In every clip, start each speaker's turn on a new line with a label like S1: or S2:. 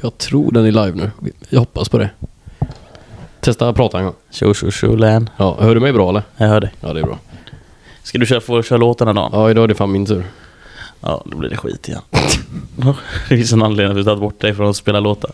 S1: Jag tror den är live nu. Jag hoppas på det. Testa att prata en gång.
S2: Tjo tjo tjo län.
S1: Ja, hör du mig bra eller?
S2: Jag hör dig.
S1: Ja, det är bra.
S2: Ska du köra, få köra låt den här dagen?
S1: Ja, idag är det fan min tur.
S2: Ja, då blir det skit igen. det finns en anledning att vi tagit bort dig från att spela låtar.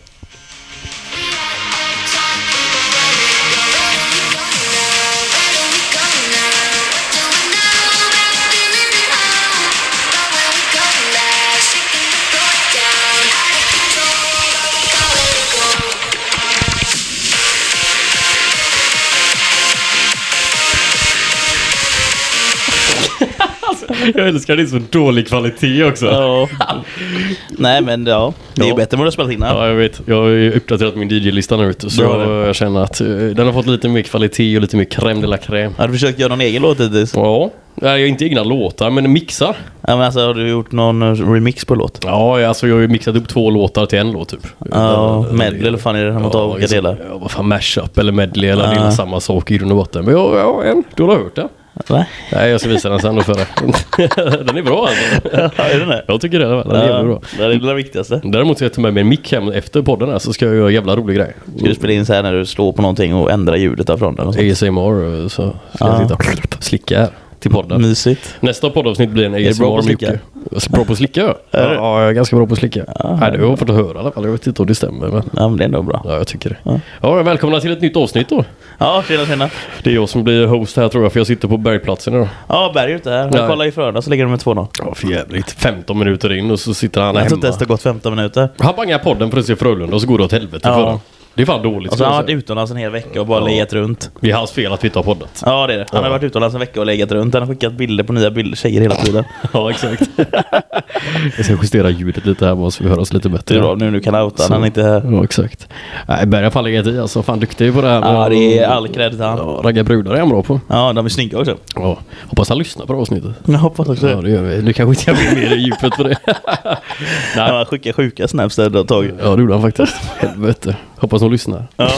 S1: Jag älskar det är så dålig kvalitet också.
S2: Ja. Nej men ja, det är
S1: Ja.
S2: ju bättre än vad du har spelat innan.
S1: Ja, jag vet. Jag har ju uppdaterat min DJ-lista nu ute, så
S2: Bra
S1: jag, jag känner att eh, den har fått lite mer kvalitet och lite mer crème de la crème.
S2: Har du försökt göra någon egen låt hittills?
S1: Ja, jag har inte egna låtar, men mixar.
S2: Ja, men alltså, har du gjort någon eh, remix på låt?
S1: Ja, jag- alltså jag har ju mixat upp två låtar till en låt typ.
S2: Ja,
S1: Eh,
S2: medley eller fan är det när man tar olika
S1: liksom,
S2: delar?
S1: Ja, vad fan, mashup eller medley eller det är
S2: Ja.
S1: väl samma sak i grund och botten. Men ja, ja, en. Du har hört den?
S2: Va?
S1: Nej, jag ska visa den sen och före. den är bra alltså.
S2: är det det?
S1: Jag tycker det. Den är jävligt bra.
S2: det är väl det viktigaste.
S1: Däremot ska jag ta med mig en mick hem efter podden här så ska jag göra jävla rolig grej.
S2: Ska du spela in så här när du slår på någonting och ändra ljudet därifrån? Eller något sånt?
S1: ASMR så ska
S2: Ja.
S1: jag sitta och slicka här till podden.
S2: Mysigt.
S1: Nästa poddavsnitt blir en
S2: det bra på
S1: ASMR med
S2: att slicka?
S1: Jocke. Jag är Bra på att slicka? ja.
S2: Är du?
S1: Ja, jag är ganska bra på att slicka. Nej, det har jag fått höra i alla fall. Jag vet inte om det stämmer men
S2: Ja men det är ändå bra.
S1: ja, jag tycker det.
S2: Ja.
S1: Ja. välkomna till ett nytt avsnitt då.
S2: Ja, tjena tjena.
S1: Det är jag som blir host här tror jag för jag sitter på bergplatsen idag.
S2: Ja, Berg är ute här.
S1: Ja.
S2: Jag kollade i fredags så ligger de med 2-0.
S1: Ja, för jävligt. 15 minuter in och så sitter han
S2: Jag tror
S1: hemma.
S2: inte ens det har gått 15 minuter.
S1: Han bangar podden för att se Frölunda och så går det åt helvete
S2: Ja. Alltså,
S1: för honom. Det är fan dåligt.
S2: Och så
S1: skulle
S2: har
S1: jag
S2: han varit
S1: säga.
S2: utomlands en hel vecka och bara legat runt.
S1: Det är hans fel att vi inte har poddat.
S2: Ja det är det. Han har varit utomlands en vecka och legat runt. Han har skickat bilder på nya bilder, tjejer hela tiden.
S1: Ja, exakt. jag ska justera ljudet lite här bara så vi hör oss lite
S2: Det
S1: bättre.
S2: är bra nu, nu kan jag outa
S1: Så.
S2: han. Han är inte här.
S1: Ja, exakt. Nej, Berg har fan legat i alltså. Fan duktig på det här med
S2: Ja, det är
S1: att-
S2: all cred till han.
S1: Ja, ragga brudar är han bra på.
S2: Ja, de är snygga också.
S1: Ja. Hoppas han lyssnar på det här avsnittet.
S2: Jag hoppas också
S1: Ja,
S2: det.
S1: det gör vi. Nu kanske inte jag vill mer i djupet på det.
S2: Ja, Han skickar sjuka snaps där ett tag.
S1: Ja, det gjorde han faktiskt. Helvete. Hoppas hon lyssnar.
S2: Ja.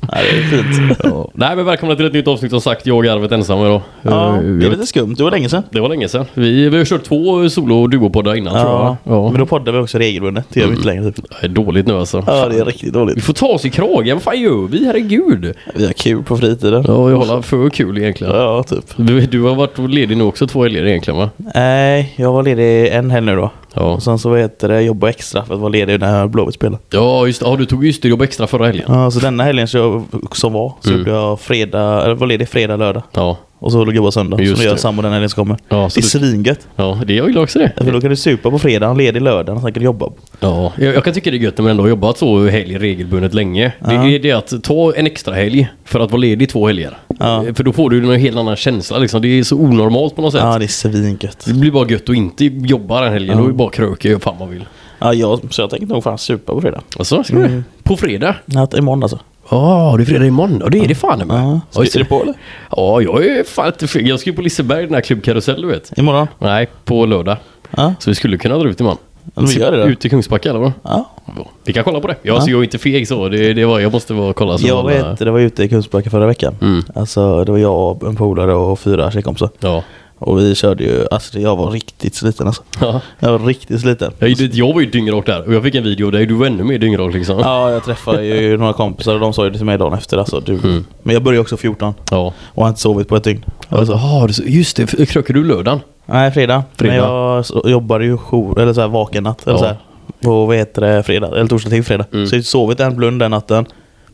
S2: ja, det är fint.
S1: Ja. Nej, men välkomna till ett nytt avsnitt som sagt. Jag och Arvet ensam idag.
S2: Ja,
S1: Eh, jag
S2: det är
S1: vet-
S2: lite skumt. Det var länge sedan.
S1: det var länge sedan. Vi, vi har kört två solo och duopoddar innan tror jag.
S2: Ja.
S1: Ja.
S2: Men då poddar vi också regelbundet. Det gör vi inte längre typ.
S1: Det är dåligt nu alltså.
S2: Ja, det är riktigt
S1: Vi
S2: dåligt.
S1: får ta oss i kragen. Vad fan gör vi? Herregud.
S2: Vi har kul på fritiden.
S1: Ja, jag håller för kul egentligen.
S2: Ja, typ.
S1: Du, du har varit ledig nu också två helger egentligen va?
S2: Nej, jag var ledig en helg nu då.
S1: Ja.
S2: Och sen så vad heter det, jobba extra för att vara ledig när Blåvitt spelar.
S1: Ja, just det. Ja, du tog just det jobb extra förra helgen.
S2: Ja, så denna helgen så jag, som var så
S1: Mm.
S2: gjorde jag fredag, eller var ledig fredag, lördag.
S1: Ja.
S2: Och så jobbade jag söndag.
S1: Just
S2: så nu gör
S1: det.
S2: jag samma den helgen som kommer.
S1: Ja,
S2: det
S1: så
S2: är
S1: du, Mm.
S2: svingött.
S1: ja, det jag gillar också det.
S2: För då kan du supa på fredagen, ledig lördagen och sen kan du jobba.
S1: Ja, jag, jag kan tycka det är gött när man ändå har jobbat så helg regelbundet länge. Det är det att ta en extra helg för att vara ledig två helger.
S2: Ja.
S1: För då får du en helt annan känsla liksom. Det är så onormalt på något sätt.
S2: Ja, det är svingött.
S1: Det blir bara gött att inte jobba den helgen. Då är det bara kröka och göra fan man vill.
S2: Ja, jag, så jag tänkte nog fan supa på fredag.
S1: Alltså, ska du? På fredag?
S2: Natt imorgon alltså.
S1: Ja, det är fredag imorgon. Ja, det är det fan i mig.
S2: Ja.
S1: Ja, just
S2: Ska du
S1: det.
S2: på eller?
S1: Ja, jag är fan inte feg. Jag ska ju på Liseberg, den här klubbkarusell du vet.
S2: Imorgon?
S1: Nej, på lördag.
S2: Ja.
S1: Så vi skulle kunna dra ut imorgon.
S2: Men vi gör det då.
S1: Ut till Kungsbacka eller vad?
S2: ja.
S1: Ja, Vi kan kolla på det. Jag, alltså, jag är inte feg så. Det, det var, jag måste bara kolla. Så Mm.
S2: Jag
S1: alla-
S2: vet, det var ute i Kungsbacka förra veckan. Alltså, det var jag, en polare och fyra tjejkompisar.
S1: Ja.
S2: Och vi körde ju, alltså jag var riktigt sliten alltså.
S1: Ja.
S2: Jag var riktigt sliten.
S1: Jag, gjorde- jag var ju dyngrak där och jag fick en video där du var ännu mer dyngrak liksom. Ja.
S2: Ja, jag träffade ju några kompisar och de sa ju det till mig dagen efter alltså. Du.
S1: Mm.
S2: Men jag började också 14
S1: ja.
S2: och har inte sovit på ett dygn.
S1: Alltså, ah, det- just det, för- krökar du lördagen?
S2: Nej, fredag.
S1: Fredag.
S2: Men jag så- jobbade ju jour, eller så här vaken natt. Eller
S1: Ja. Mm.
S2: så här. På vad heter det, fredag? Eller torsdag till fredag. Så jag har inte sovit en blund den natten.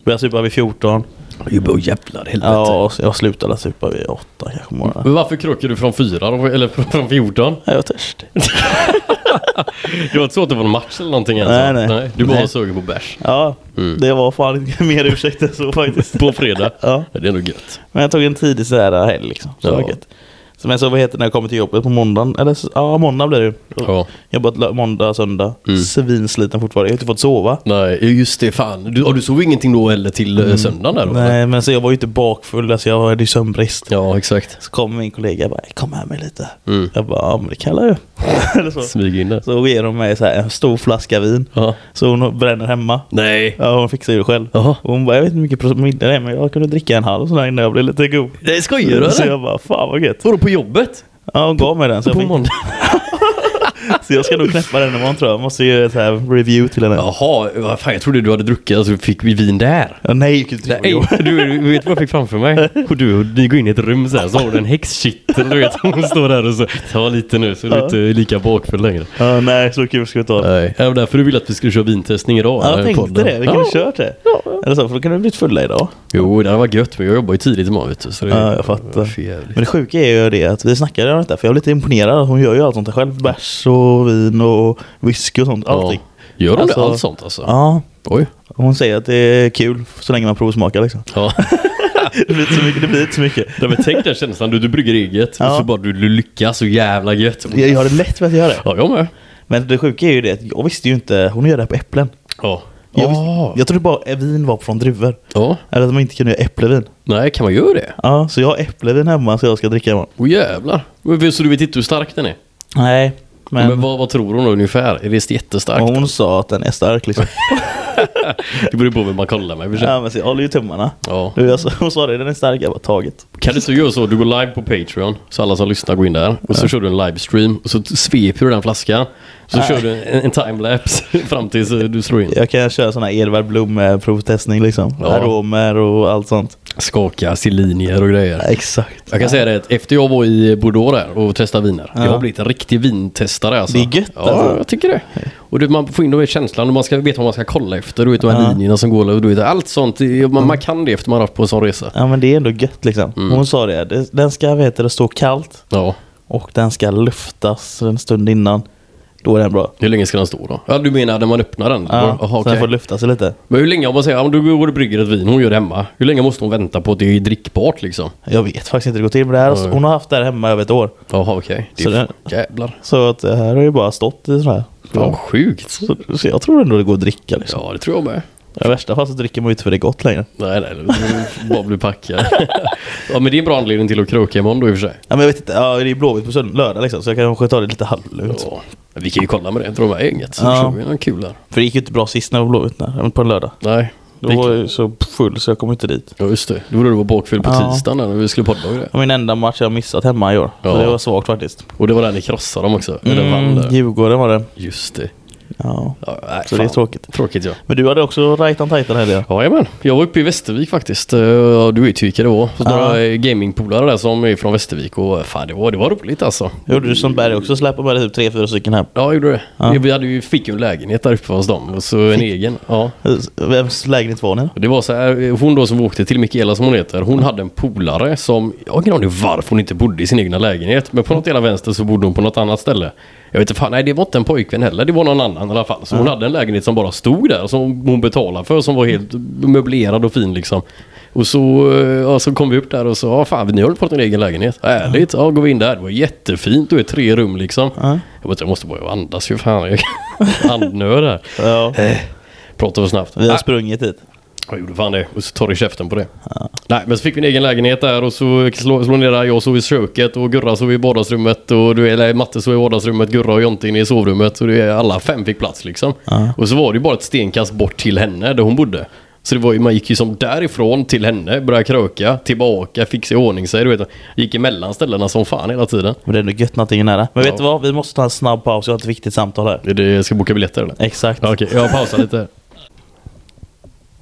S2: Började supa vid 14.
S1: Jo, bara jävlar helvete.
S2: Ja, och jag slutade supa vid 8 kanske på morgonen.
S1: Men varför krökar du från fyra då? eller från från 14?
S2: Nej, Jag var törstig.
S1: Det var inte så att det var en match eller någonting ens?
S2: Nej, nej.
S1: du bara
S2: Nej.
S1: sugen på bärs.
S2: Ja,
S1: Mm.
S2: det var fan inte mer ursäkt än så faktiskt.
S1: På fredag?
S2: Ja.
S1: Det är nog gött.
S2: Men jag tog en tidig sådär helg liksom. Så
S1: Ja.
S2: ja. så, men så vad heter det när jag kommer till jobbet på måndagen? Eller s- ja, måndag blir det ju.
S1: Ja.
S2: Jobbat lö- måndag, söndag.
S1: Mm.
S2: Svinsliten fortfarande. Jag har inte fått sova.
S1: Nej, just det. Fan. Du, ja, du sov ingenting då eller till mm. söndagen där då? eller?
S2: Nej, men så jag var ju inte bakfull. Alltså jag hade ju sömnbrist.
S1: Ja, exakt.
S2: Så kom min kollega och bara kom här med lite.
S1: Mm.
S2: Jag bara, ja men det kallar jag Eller så.
S1: Smyg in det.
S2: Så ger hon mig så här, en stor flaska vin.
S1: Ja.
S2: Så hon bränner hemma.
S1: Nej.
S2: Ja, hon fixar ju det själv.
S1: Jaha.
S2: Och hon bara, jag vet inte hur mycket promille det är men jag kunde dricka en halv sån här innan jag blev lite god.
S1: Nej, skojar du
S2: Så
S1: eller?
S2: jag bara, fan vad gött.
S1: Vadå på jobbet?
S2: Ja, hon gav mig den så jag
S1: På
S2: fick
S1: måndag?
S2: Så Så jag ska nog knäppa den imorgon tror jag. jag. Måste ju så här review till henne. Ja.
S1: Jaha, vad fan, jag trodde du hade druckit, alltså fick vi vin där?
S2: nej, gud. det var
S1: Ey,
S2: ju-
S1: du, du vet vad jag fick framför mig? Och du, och ni går in i ett rum så här, så har du en häxkittel, du vet. Hon står där och så, ta lite nu så är du inte lika bakfull längre.
S2: Ja, nej, så kul ska vi inte ha.
S1: Nej, det var därför du ville att vi skulle köra vintestning idag.
S2: Ja,
S1: här
S2: jag
S1: i
S2: tänkte
S1: podden.
S2: det. Vi kunde
S1: Ja.
S2: kört det. Eller så, för då kan du bli fulla idag.
S1: Jo, det hade varit gött, men jag jobbar ju tidigt imorgon vet du. Så det
S2: Ja, jag fattar.
S1: för jävligt.
S2: Men det sjuka är ju det att vi snackade om detta, för jag var lite imponerad. Hon gör ju allt sånt där själv. Bärs och vin och whisky och sånt.
S1: Ja.
S2: Allting.
S1: Gör de
S2: Alltså-
S1: det? Allt sånt alltså?
S2: Ja.
S1: Oj.
S2: Hon säger att det är kul så länge man provsmakar liksom.
S1: Ja.
S2: Det blir inte så mycket. Det blir inte så mycket.
S1: Nej, men tänk den känslan, du, du brygger eget
S2: Ja.
S1: och så bara du, du lyckas så jävla gött.
S2: Jag jag har det lätt med att göra det.
S1: Ja, jag med.
S2: Men det sjuka är ju det att jag visste ju inte. Hon gör det här på äpplen.
S1: Ja.
S2: Jag,
S1: Ja.
S2: visste, jag trodde bara vin var från druvor.
S1: ja.
S2: Eller att man inte kunde göra äpplevin.
S1: Nej, kan man göra det?
S2: Ja, så jag har äpplevin hemma så jag ska dricka imorgon.
S1: Åh jävlar. Men- Så du vet inte hur stark den är?
S2: Nej,
S1: Men,
S2: men,
S1: vad, vad tror hon då ungefär? Är det jättestarkt?
S2: hon sa att den är stark liksom.
S1: Det beror på vem man kollar med i och för sig.
S2: ja, men så jag håller ju tummarna.
S1: Ja.
S2: Du, jag sa- hon sa det, den är stark. Jag bara taget.
S1: Kan du inte göra så? Du går live på Patreon, så alla som lyssnar går in där. Och så kör du en livestream och så t- sveper du den flaskan. Så kör du en, en timelapse fram tills eh, du slår in.
S2: Jag kan köra sån här Edvard Blom eh, provtestning liksom.
S1: Ja.
S2: Aromer och allt sånt.
S1: Skaka, linjer och grejer.
S2: Ja, exakt.
S1: Jag kan säga det att efter jag var i Bordeaux där och testade viner.
S2: Ja.
S1: Jag har blivit en riktig vintestare alltså.
S2: Det är gött,
S1: Ja,
S2: alltså.
S1: jag tycker det. Och du, man får in de här känslan och man ska veta vad man ska kolla efter. Du vet de här linjerna som går. Och du vet, allt sånt. det- Man,
S2: Mm.
S1: man kan det efter man har haft på en sån resa.
S2: Ja men det är ändå gött liksom.
S1: Mm.
S2: Hon sa det, det- den ska vad heter det, stå kallt
S1: Ja.
S2: och den ska luftas en stund innan. Då är den bra.
S1: Hur länge ska den stå då? Ja, du menar när man öppnar den?
S2: Ja,
S1: Jaha,
S2: Så den
S1: okej.
S2: får lufta sig lite.
S1: Men hur länge, om man säger att du går och brygger ett vin, hon gör det hemma. Hur länge måste hon vänta på att det är drickbart liksom?
S2: Jag vet faktiskt inte hur det går till med det här.
S1: Nej.
S2: Hon har haft det här hemma över ett år.
S1: Jaha, okej.
S2: Så
S1: Det är
S2: den-
S1: fan, jävlar.
S2: Så att det här har ju bara stått i sån här.
S1: Fan sjukt.
S2: Så, så jag tror ändå det går att dricka liksom.
S1: Ja, det tror jag med.
S2: I värsta fall så dricker man ju inte för det är gott längre.
S1: Nej, nej, du bara bli packad. ja, men det är en bra anledning till att kroka imorgon då i och för sig.
S2: Ja, men jag vet inte, ja, det är ju Blåvitt på söndag, lördag liksom. Så jag kanske tar det lite halvlugnt.
S1: Ja, vi kan ju kolla med det, dra med gänget. Så
S2: Ja.
S1: kör vi någon kul där.
S2: För det gick ju inte bra sist när jag var Blåvitt när, även på en lördag.
S1: Nej,
S2: Då
S1: det-
S2: var jag ju så full så jag kom inte dit.
S1: ja, just det. Det var då du var bakfull på
S2: Ja.
S1: tisdagen där, när vi skulle podda och det.
S2: Det var min enda match jag missat hemma i år.
S1: Ja.
S2: Så det var svagt faktiskt.
S1: Och det var där ni krossade dem också. Eller vann
S2: Mm,
S1: där.
S2: Djurgården var det.
S1: Just det.
S2: Ja.
S1: Ja, nej,
S2: Så det är
S1: fan.
S2: tråkigt.
S1: Tråkigt ja.
S2: Men du hade också right on titan här det.
S1: Jajamän, jag var uppe i Västervik faktiskt. Eh, ja, Du vet ju vilka det var. Så
S2: Ja.
S1: Några eh, gamingpolare där som är från Västervik och eh, fan det var, det var roligt alltså.
S2: Gjorde du som Berg också, släpade med dig typ tre fyra stycken hem.
S1: Ja, jag gjorde det. Vi- Vi hade ju, fick ju en lägenhet där uppe hos dem och så en egen. Ja.
S2: Vems lägenhet var ni?
S1: Och Det var så här, eh, hon då som åkte till Mikaela som hon heter, hon hade en polare som, jag har ingen aning varför hon inte bodde i sin egna lägenhet, men på något jävla vänster så bodde hon på något annat ställe. Jag vet inte fan, nej det var inte en pojkvän heller, det var någon annan i alla fall. Så hon hade en lägenhet som bara stod där, som hon betalade för, som var helt möblerad och fin liksom. Och så, eh, ja, så kom vi upp där och så, ja fan ni har väl fått en egen lägenhet? Ärligt, ja går vi in där, det var jättefint, du är tre rum liksom. Jag bara, jag måste bara andas ju fan, jag andnöd här.
S2: Ja.
S1: Pratar för snabbt.
S2: Vi har
S1: Ah.
S2: sprungit hit.
S1: Jag gjorde fan det och så torr i käften på det. Nej men så fick vi en egen lägenhet där och så slog, slog ner där. Jag sov i köket och Gurra sov i vardagsrummet och du, eller Matte sov i vardagsrummet, Gurra och Jonte inne i sovrummet. Så det, alla fem fick plats liksom. Och så var det ju bara ett stenkast bort till henne där hon bodde. Så det var ju, man gick ju som därifrån till henne, började kröka, tillbaka, fixa i ordning sig. Du vet, gick emellan ställena som fan hela tiden.
S2: Men det är ändå gött när allting är nära. Men
S1: Ja.
S2: vet du vad? Vi måste ta en snabb paus. Jag har ett viktigt samtal här.
S1: Är det, ska jag boka biljetter eller?
S2: Exakt.
S1: Ja, Okej, jag pausar lite.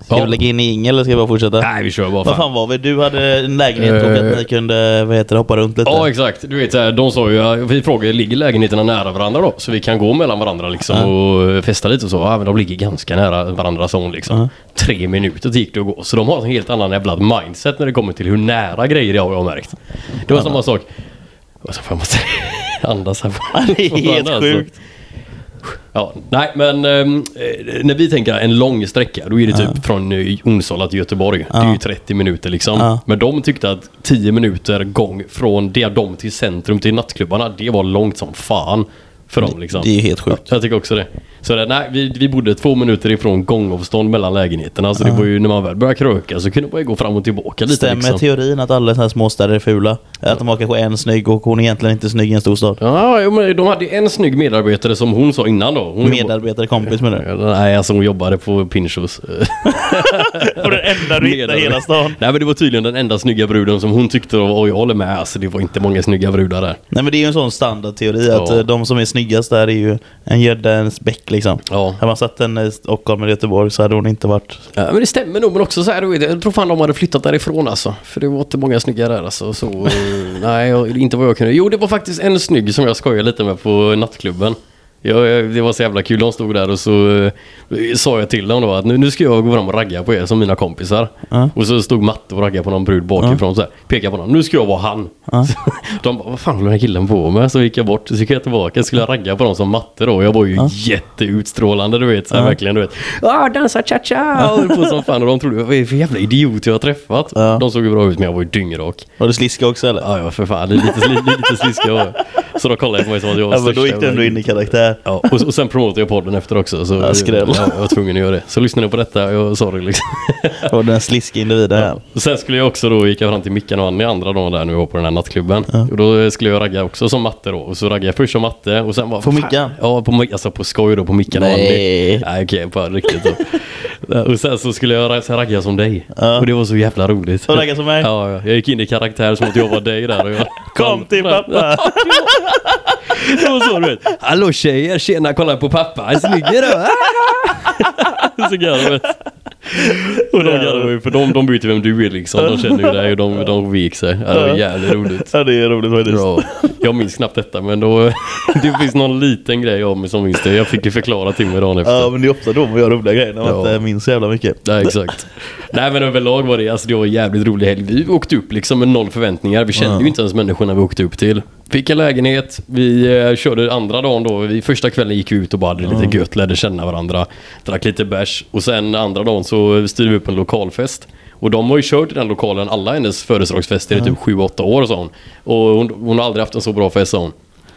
S2: Ska vi lägga in i jingel eller ska vi bara fortsätta?
S1: Nej vi kör bara.
S2: Vad fan var vi? Du hade en lägenhet och
S1: Eh.
S2: att ni kunde vad heter det, hoppa runt lite.
S1: Ja exakt, du vet så här, de sa ju, ja, vi frågade ligger lägenheterna nära varandra då? Så vi kan gå mellan varandra liksom och eh, festa lite och så. Ja men de ligger ganska nära varandra sa hon liksom. Tre minuter gick det att gå. Så de har en helt annan jävla mindset när det kommer till hur nära grejer det har jag märkt. Det var samma sak. Alltså, fan, jag måste andas här.
S2: det är helt
S1: Alltså.
S2: sjukt.
S1: Ja, nej men ehm, eh, när vi tänker en lång sträcka då är det typ från eh, Onsala till Göteborg. Det är ju 30 minuter liksom.
S2: Ja.
S1: Men de tyckte att 10 minuter gång från det de till centrum till nattklubbarna, det var långt som fan för dem liksom.
S2: Det är helt sjukt.
S1: Jag tycker också det. Så det, nej, vi, vi bodde två minuter ifrån gångavstånd mellan lägenheterna. Så det var ju när man väl började kröka så kunde man ju gå fram och tillbaka lite
S2: Stämmer
S1: liksom.
S2: teorin att alla så här småstäder är fula? Att de har kanske en snygg och hon är egentligen inte snygg i en storstad?
S1: Ja, jo, men de hade ju en snygg medarbetare som hon sa innan då. Hon
S2: Medarbetare, kompis med det.
S1: jobbade- Nej, alltså hon jobbade på Pinchos.
S2: Och den enda du hittar i hela stan.
S1: Nej men det var tydligen den enda snygga bruden som hon tyckte var, och jag håller med, alltså det var inte många snygga brudar där.
S2: Nej men det är ju en sån standardteori att
S1: Ja.
S2: eh, de som är snyggast där är ju en gädda, en bäck liksom.
S1: Ja.
S2: Hade man satt en i Stockholm eller Göteborg så hade hon inte varit...
S1: Ja, men det stämmer nog, men också så här, du vet, jag tror fan de hade flyttat därifrån alltså. För det var inte många snygga där alltså. Så, eh, nej, jag, inte vad jag kunde. Jo, det var faktiskt en snygg som jag skojade lite med på nattklubben. Jag, jag, det var så jävla kul, de stod där och så eh, sa jag till dem då att nu, nu ska jag gå fram och ragga på er som mina kompisar.
S2: Ja.
S1: Och så stod Matte och raggade på någon brud bakifrån så här, pekade på honom, nu ska jag vara han. Så, de bara, vad fan håller den här killen på med? Så gick jag bort, så gick jag tillbaka, skulle jag ragga på dem som Matte då. Jag var ju jätteutstrålande du vet, så här, verkligen du vet. Ah, dansa cha-cha! Och höll på som fan och de trodde, vad är det för jävla idiot jag har träffat?
S2: Ja.
S1: De såg ju bra ut men jag var ju dyngrak.
S2: Var du sliska också eller?
S1: Ja, ja för fan, lite, lite, lite sliska var jag. Så de kollade på mig som att jag var
S2: Ja, men då
S1: största
S2: gick du
S1: jävla
S2: ändå in i karaktär.
S1: Ja, och, och sen promotade jag podden efter också. Så
S2: Ja, skräll.
S1: Ja, jag var tvungen att göra det. Så lyssnade jag på detta, jag sa det liksom.
S2: Och den sliska individen här.
S1: Och sen skulle jag också då, gick jag fram till Mickan och Annie andra dagen där nu var på den här nattklubben. Och då skulle jag ragga också som matte då. Och så raggade jag först som matte och sen bara...
S2: På
S1: fan.
S2: Mickan?
S1: Ja, på, Mic- alltså på skoj då, på Mickan och
S2: Nej.
S1: Annie. Nej, okej, på riktigt då. och sen så skulle jag ra- så ragga som dig. Och det var så jävla roligt.
S2: Så ragga som mig?
S1: Ja, ja. jag gick in i karaktär som att jag var dig där. Och jag,
S2: Kom till pappa!
S1: det var så du vet. Hallå tjejer, tjena, kolla på pappa. Han är snygg idag. Så garvar vet. Och de garvar ju för de, de vet ju vem du är liksom. De känner ju dig och de, de vek sig. Ja, det var jävligt roligt.
S2: Ja det är roligt faktiskt.
S1: Bra. Jag minns knappt detta men då, det finns någon liten grej om mig som minns det. Jag fick ju förklara till mig dagen efter.
S2: Ja men det är ofta då man gör roliga grejer när man
S1: Ja.
S2: inte minns så jävla mycket.
S1: Nej exakt. Nej men överlag var det, alltså det var en jävligt rolig helg. Vi åkte upp liksom med noll förväntningar. Vi kände ju inte ens människorna vi åkte upp till. Fick en lägenhet, vi eh, körde andra dagen då. Vi, första kvällen gick vi ut och bara hade lite gött, lärde känna varandra. Drack lite bärs och sen andra dagen så styrde vi upp en lokalfest. Och de har ju kört i den lokalen alla hennes födelsedagsfester i typ 7-8 år sa hon. Och hon, hon har aldrig haft en så bra fest sa hon.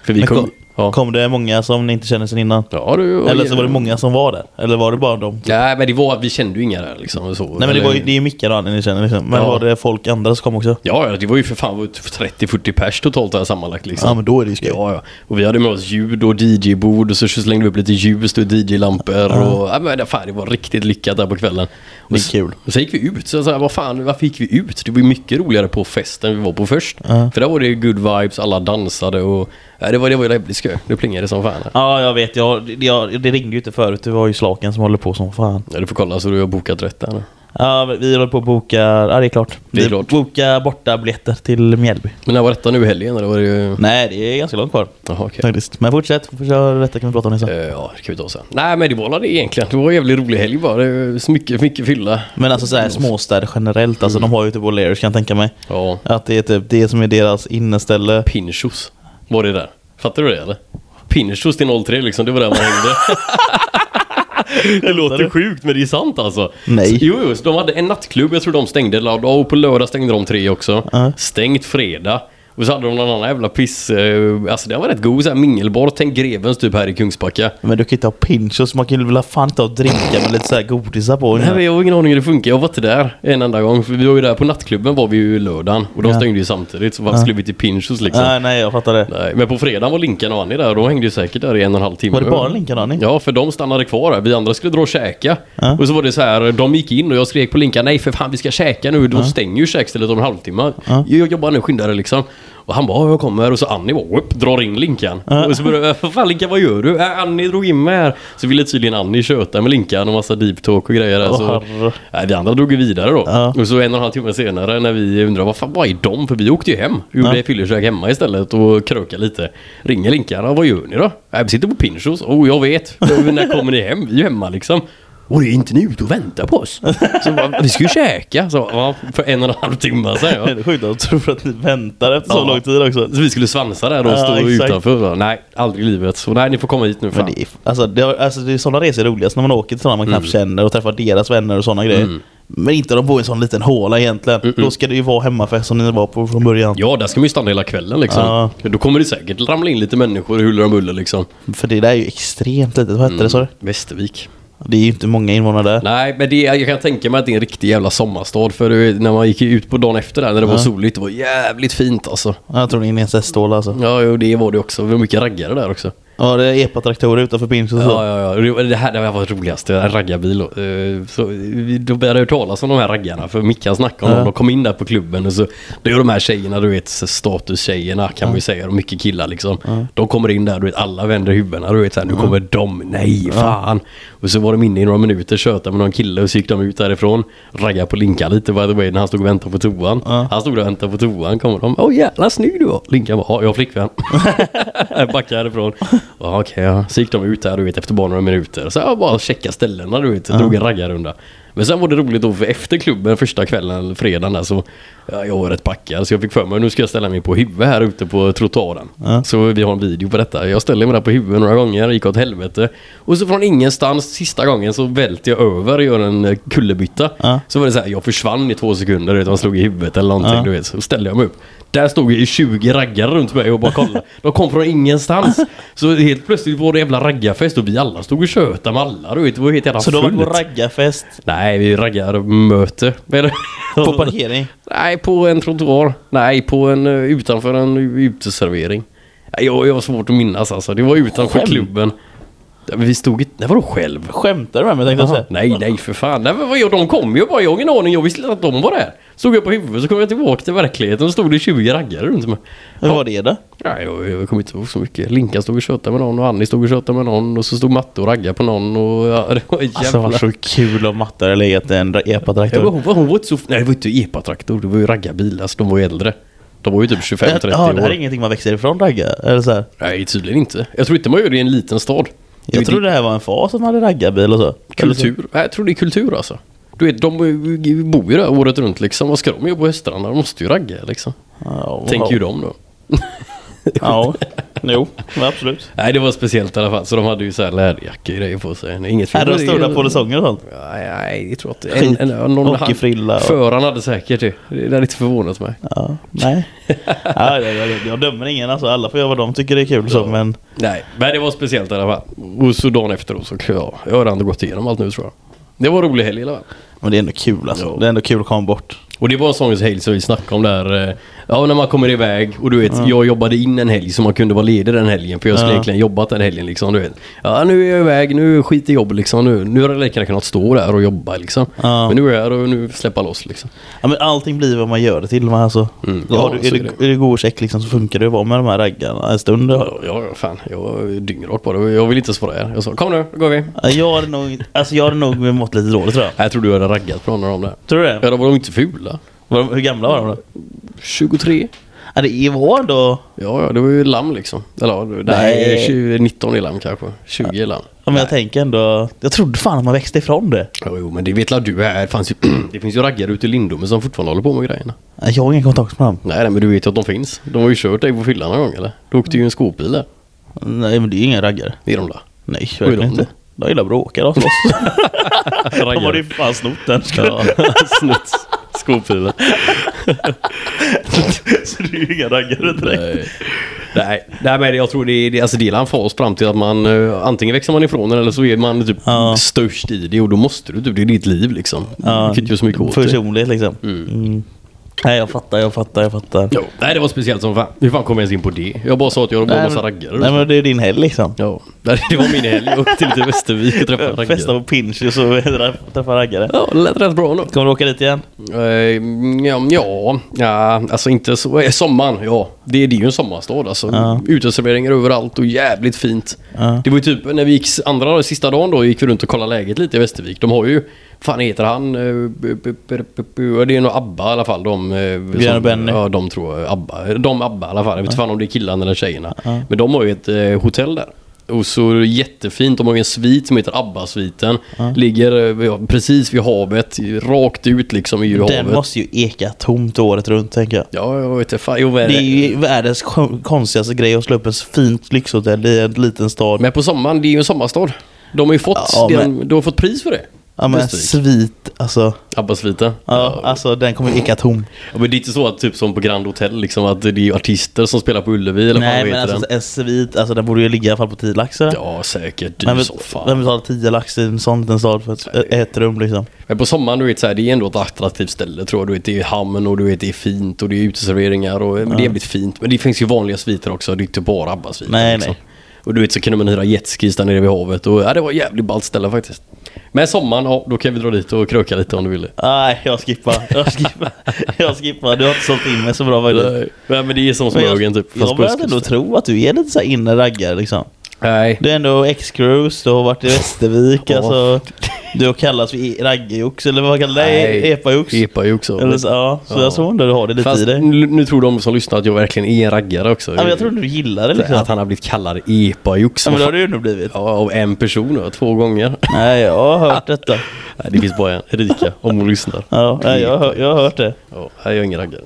S1: För vi
S2: Men
S1: kom...
S2: kom,
S1: ja.
S2: kom det många som ni inte känner sedan innan?
S1: ja, du,
S2: Eller så var det många som var där? Eller var det bara de?
S1: Nej men det var att vi kände ju inga där liksom. Så.
S2: Nej men det,
S1: Eller-
S2: var ju, det är ju Micke då ni känner liksom. Men
S1: Ja.
S2: var det folk andra som kom också?
S1: Ja, ja, det var ju för fan 30-40 pers totalt här sammanlagt liksom.
S2: Ja men då är det ju skoj.
S1: Ja, ja. Och vi hade med oss ljud och DJ-bord och så slängde vi upp lite ljus och DJ-lampor och... Ja, men det- fan, det var riktigt lyckat där på kvällen. Och
S2: Det är
S1: s-
S2: kul.
S1: Och så gick vi ut, så jag sa, vad fan, varför gick vi ut? Det var ju mycket roligare på festen vi var på först. För där var det ju good vibes, alla dansade och... Ja, det var, det var ju jävligt skoj. Det plingade som fan. här.
S2: Ja, jag vet. Jag, det- jag, det ringde ju inte förut. Det var ju Slaken som håller på som fan.
S1: Ja, du får kolla så du har bokat rätt där nu.
S2: Ja, vi håller på att boka... Ja, det är klart.
S1: Det är
S2: Vi
S1: klart.
S2: bokar borta biljetter till Mjällby.
S1: Men när var detta nu i helgen? Eller var det ju...
S2: Nej, det är ganska långt kvar.
S1: Jaha, okej.
S2: Faktiskt. Men fortsätt. För detta kan vi prata om det sen.
S1: Eh, Ja, det kan vi ta sen. Nej, men det var det egentligen. Det var en jävligt rolig helg bara. Det var så mycket, mycket fylla.
S2: Men alltså så här, småstäder generellt.
S1: Mm.
S2: Alltså de har ju typ O'Learys kan jag tänka mig.
S1: Ja,
S2: Att det är typ det som är deras inneställe.
S1: Pinchos var det där. Fattar du det eller? Pinchos till 03 liksom, det var där man hängde. det låter sjukt men det är sant alltså.
S2: Nej.
S1: Jo, jo, så de hade en nattklubb, jag tror de stängde, eller- ja, och på lördag stängde de tre också.
S2: Ja.
S1: Stängt fredag. Och så hade de någon annan jävla piss, eh, alltså den var rätt god, så här mingelbar, tänk Grevens typ här i Kungsbacka.
S2: Men du kan ju inte ha pinchos. Man kan ju väl fan inte ha drinkar med lite så här godisar på.
S1: Nej, men jag har ingen aning hur det funkar. Jag var inte där en enda gång. För vi var ju där på nattklubben var vi ju lördagen. Och de
S2: Ja.
S1: stängde ju samtidigt. Så varför skulle vi till Pinchos liksom?
S2: Nej, nej, jag fattar det.
S1: Nej, men på fredagen var Linkan och Annie där och de hängde ju säkert där i en och en halv timme.
S2: Var det bara Linkan Annie?
S1: Ja, för de stannade kvar där. Vi andra skulle dra och käka.
S2: Ja.
S1: Och så var det så här, de gick in och jag skrek på Linkan, nej för fan vi ska käka nu, de stänger ju käkstället om en halvtimme. Jag jobbar nu, skynda dig liksom. Och han bara, "Ja, jag kommer. Och så Annie bara, upp, drar in Linkan. Och så började jag, "Vad fan Linkan vad gör du? Äh, Annie drog in mig här. Så ville tydligen Annie köta med Linkan och massa deep talk och grejer där.
S2: Åh,
S1: så,
S2: herre.
S1: nej, vi andra drog ju vidare då.
S2: Ja.
S1: Och så en och en halv timme senare när vi undrar vad fan, vad är de? För vi åkte ju hem. Vi gjorde
S2: Ja.
S1: fyllekäk hemma istället och krökade lite. Ringer Linkan, "Ja, vad gör ni då? "Ja, Vi sitter på Pinchos. Oh, jag vet. Men När kommer ni hem? Vi är ju hemma liksom. Och det är inte ni ute och väntar på oss? Så bara, vi ska ju käka. Så, ja, för en och en halv timme sedan. Ja.
S2: Det är sjukt att de tror att ni väntar efter så
S1: Ja.
S2: lång tid också.
S1: Så vi skulle svansa där och
S2: Ja,
S1: stå
S2: exakt.
S1: utanför. va? Nej, aldrig i livet. Så nej, ni får komma hit nu fan. Mm.
S2: Men det är, alltså, det, har- alltså, det är sådana resor är roligast när man åker till sådana man knappt känner och träffar deras vänner och sådana grejer. Men inte de bor i en sån liten håla egentligen. Då ska det ju vara hemmafest som ni var på från början.
S1: Ja, där ska man ju stanna hela kvällen liksom.
S2: Ja.
S1: Då kommer det säkert ramla in lite människor huller om buller liksom.
S2: För det där är ju extremt litet. Vad hette
S1: Mm.
S2: det sa du?
S1: Västervik.
S2: Det är ju inte många invånare där.
S1: Nej, men det, är- jag kan tänka mig att det är en riktig jävla sommarstad. För det är- när man gick ut på dagen efter där när det var soligt, det var jävligt fint alltså.
S2: Jag tror det är en inceststål alltså.
S1: Ja, jo, det var det också. Det var mycket raggare där också.
S2: Ja, det är epatraktorer utanför Pinchos och så.
S1: Ja, ja, ja. Det var- Det här, det här var det roligaste. En raggarbil. och, eh, Så, vi- då började jag höra talas om de här raggarna. För Mickan snackade om dem. De kom in där på klubben och så. Det är ju de här tjejerna, du vet, så statustjejerna kan man ju säga. Och mycket killar liksom. De kommer in där, du vet, alla vänder huvudena. Du vet, så här, nu kommer de. Nej, fan. Och så var de inne i några minuter, tjötade med någon kille och så gick de ut därifrån. Raggade på Linka lite by the way, när han stod och väntade på toan. Han stod där och väntade på toan. Kommer de. Åh jävla snygg du var. Linka bara, ja, jag har flickvän. Backa härifrån. Ja, Okej, ja. Så gick de ut där du vet efter bara några minuter. Så jag bara checka ställena du vet. Drog en raggarrunda. Men sen var det roligt då för efter klubben första kvällen, fredagen där så ja, jag var rätt packad så jag fick för mig nu ska jag ställa mig på huvudet här ute på trottoaren. Så vi har en video på detta. Jag ställde mig där på huvudet några gånger, gick åt helvete. Och så från ingenstans, sista gången så välter jag över och gör en eh, kullerbytta. Så var det så här, jag försvann i två sekunder, du vet, man slog i huvudet eller någonting. Du vet, så ställde jag mig upp. Där stod ju 20 raggare runt mig och bara kollade. De kom från ingenstans. Så helt plötsligt var det jävla raggarfest och vi alla stod och tjötade med alla. Du vet, det var ju helt jävla
S2: Så de har varit
S1: fullt.
S2: på raggarfest
S1: Nej, vi raggarmöte. Men-
S2: på parkering.
S1: Nej, på en trottoar. Nej, på en, eh, utanför en uteservering. Nej, Jag, jag har svårt att minnas alltså. Det var utanför
S2: Själv?
S1: klubben. Ja, men Vi stod inte... Nej, vadå själv?
S2: Skämtar du med mig tänkte jag säga.
S1: Nej, nej för fan. Nej, men vad gör de? kom ju bara. Jag har ingen aning. Jag visste inte att de var där. Stod jag på huvudet så kom jag tillbaka till verkligheten och stod det 20 raggare runt mig.
S2: Hur var det då?
S1: Nej, jag, jag kommer inte ihåg så mycket. Linka stod och tjötade med någon och Annie stod och tjötade med någon och så stod Matte och raggade på någon och ja, det var jävla...
S2: Alltså det var så kul om Matte hade legat i en ra-
S1: Ja, men
S2: epatraktor.
S1: hon, var, hon var inte så... Nej, det var inte epatraktor. Det var ju raggarbil. Alltså, de var ju äldre. De var ju typ 25-30
S2: Ja, det här
S1: år.
S2: är ingenting man växer ifrån raggar. Eller så här.
S1: Nej, tydligen inte. Jag tror inte man gör det i en liten stad. Det är ju typ.
S2: Jag trodde det här var en fas att man hade raggarbil och så. Eller så-
S1: Kultur. Nej, jag tror det är kultur alltså. Du vet, de bor ju där året runt liksom. Vad ska de göra på Östrarna? De måste ju ragga liksom.
S2: Ja,
S1: Tänker ju de då.
S2: Ja, jo, men absolut.
S1: Nej, det var speciellt i alla fall. Så de hade ju så här läderjacka och grejer på sig. Inget fel
S2: Här
S1: med
S2: de
S1: det.
S2: stora polisonger och sånt.
S1: Nej, nej, det tror jag
S2: Skit.
S1: inte. En, en, någon
S2: Hockeyfrilla och-
S1: Föraren hade säkert det. Det hade inte förvånat mig.
S2: Ja, nej. Ja, jag, jag, jag dömer ingen alltså. Alla får göra vad de tycker det är kul så, men...
S1: Nej, men det var speciellt i alla fall. Och så dagen efter då så, ja, jag har ändå gått igenom allt nu tror jag. Det var en rolig helg i alla fall.
S2: Men det är ändå kul alltså.
S1: Ja.
S2: Det är ändå kul att komma bort.
S1: Och det var en sån helg som vi snackade om där. eh, Ja, när man kommer iväg och du vet, jag jobbade in en helg så man kunde vara ledig den helgen. För jag skulle
S2: Ja.
S1: egentligen jobbat den helgen liksom, du vet. Ja, nu är jag iväg, nu skit i jobb liksom. Nu, nu hade jag lika gärna kunnat stå där och jobba liksom.
S2: Ja.
S1: Men nu är jag här och nu släppa loss liksom.
S2: Ja, men allting blir vad man gör det till. Men alltså,
S1: Mm.
S2: ja,
S1: Ja,
S2: du,
S1: så
S2: är,
S1: är
S2: det, är det god check liksom, så funkar det att vara med de här raggarna en stund.
S1: Ja, ja, fan. Jag var dyngrak bara. Jag vill inte svara här. Jag sa, kom nu, då går vi.
S2: Ja, Jag hade nog, alltså, jag hade nog mått lite dåligt tror jag.
S1: Jag tror du hade raggat på någon av dem där.
S2: Tror du
S1: Ja,
S2: det?
S1: då var de inte fula.
S2: Var de, hur gamla var de då?
S1: 23?
S2: Ja, det var ändå...
S1: Ja, ja, det var ju lamm liksom. Eller ja, det-
S2: Nej.
S1: nej, 20, 19 är lamm kanske. 20 är lamm.
S2: Ja, men jag tänker ändå... Jag trodde fan att man växte ifrån det.
S1: Jo, jo, men det vet la du här. Det, fanns ju, det finns ju raggare ute i Lindome som fortfarande håller på med grejerna.
S2: Ja, Jag har ingen kontakt med dem.
S1: Nej, nej, men du vet ju att de finns. De har ju kört dig på fyllan någon gång eller? Du åkte ju i en skåpbil där.
S2: Nej, men det är ju inga raggare.
S1: Det är de där.
S2: Nej,
S1: Vad är de
S2: verkligen inte. De gillar att bråka, de slåss. de har ju
S1: Raggare.
S2: fan snott den.
S1: Ja, snuts. Skåpbilen.
S2: Så det är ju inga raggare direkt.
S1: Nej. Nej. Nej, men jag tror det är, det, alltså det är en fas fram till att man eh, antingen växer man ifrån den eller så är man typ
S2: Ja.
S1: störst i det och då måste du typ, det är ditt liv liksom.
S2: Ja,
S1: Du kan inte göra så mycket åt det.
S2: Personligt liksom. Mm. Nej, jag fattar, jag fattar, jag fattar.
S1: Jo, nej det var speciellt som fan. Hur fan kom jag ens in på det? Jag bara sa att jag var en massa raggare.
S2: nej, men det är din helg liksom.
S1: Ja, nej, det var min helg. Jag åkte till Västervik och träffade
S2: Festa
S1: raggare.
S2: på Pinch och så träffa raggare.
S1: Ja, det lät rätt bra ändå.
S2: Kommer du åka dit igen?
S1: Eh, Ja, ja, ja, alltså inte så. eh, Sommaren, ja. Det, det är ju en sommarstad alltså.
S2: Ja.
S1: Uteserveringar överallt och jävligt fint.
S2: Ja.
S1: Det var ju typ när vi gick s- andra, sista dagen då gick vi runt och kollade läget lite i Västervik. De har ju, fan heter han? Eh, bu- bu- bu- bu- bu- Det är nog ABBA i alla fall. De, eh,
S2: Björn och Benny.
S1: Ja, de tror jag. ABBA. De ABBA i alla fall. Jag vet inte fan om det är killarna eller tjejerna. Men de har ju ett eh, hotell där. Och så är det jättefint. De har ju en svit som heter ABBA-sviten. Ligger eh, ja, precis vid havet. Rakt ut liksom i havet.
S2: Den måste ju eka tomt året runt tänker jag.
S1: Ja, jag vet inte. Fan, jo, vad är
S2: Det
S1: det?
S2: är ju världens kon- konstigaste grej att slå upp ett fint lyxhotell i en liten stad.
S1: Men på sommaren, det är ju en sommarstad. De har ju fått,
S2: Ja,
S1: den, de har fått pris för det.
S2: Ja, men
S1: Pustervik.
S2: svit, alltså.
S1: Abbasvita.
S2: Ja, alltså den kommer icka tom.
S1: Ja, men det är inte så att typ som på Grand Hotel liksom att det är ju artister som spelar på Ullevi eller vad
S2: Nej
S1: fan
S2: men
S1: heter
S2: alltså
S1: den?
S2: en svit, alltså den borde ju ligga i alla fall på 10 lax eller?
S1: Ja säkert,
S2: Vem
S1: du
S2: vill-
S1: som fan.
S2: Vem betalar 10 lax i en sån liten stad för ett, ett rum liksom?
S1: Men på sommaren du vet så här, det är ändå ett attraktivt ställe tror jag. Du vet, det är hamn och du vet, det är fint och det är uteserveringar och men det är jävligt fint. Men det finns ju vanliga sviter också, det är inte bara Abbasviter.
S2: Nej, nej.
S1: Och du vet så kunde man hyra jetskis där nere vid havet och ja, det var ett jävligt ballt ställe faktiskt. Men sommaren, ja då kan vi dra dit och kröka lite om du vill.
S2: Nej jag skippar, jag skippar, jag skippar. Du har inte sålt in mig så bra faktiskt.
S1: Nej, men det är som
S2: Men jag
S1: Smögen typ.
S2: jag
S1: fast
S2: börjar
S1: buskis.
S2: ändå tro att du är lite såhär inne raggare liksom.
S1: Nej.
S2: Du är ändå X-Cruise, du har varit i Västervik,
S1: Ja.
S2: alltså. Du har kallats för i- raggejox, eller vad kallar du det?
S1: Nej.
S2: Epajox?
S1: Epa ju också.
S2: Eller så, ja, så
S1: Ja.
S2: jag tror ändå du har det lite
S1: Fast
S2: i dig.
S1: nu, nu tror de som lyssnar att jag verkligen är en raggare också.
S2: Ja, men jag tror du gillar det liksom.
S1: Att han har blivit kallad epajox.
S2: Ja, men det har du ju nu blivit.
S1: Ja, av en person ja, två gånger.
S2: Nej, jag har hört detta.
S1: Nej, det finns bara en. Erika, om hon lyssnar.
S2: Ja, nej, jag, har- jag har hört det.
S1: Ja, jag är ingen raggare.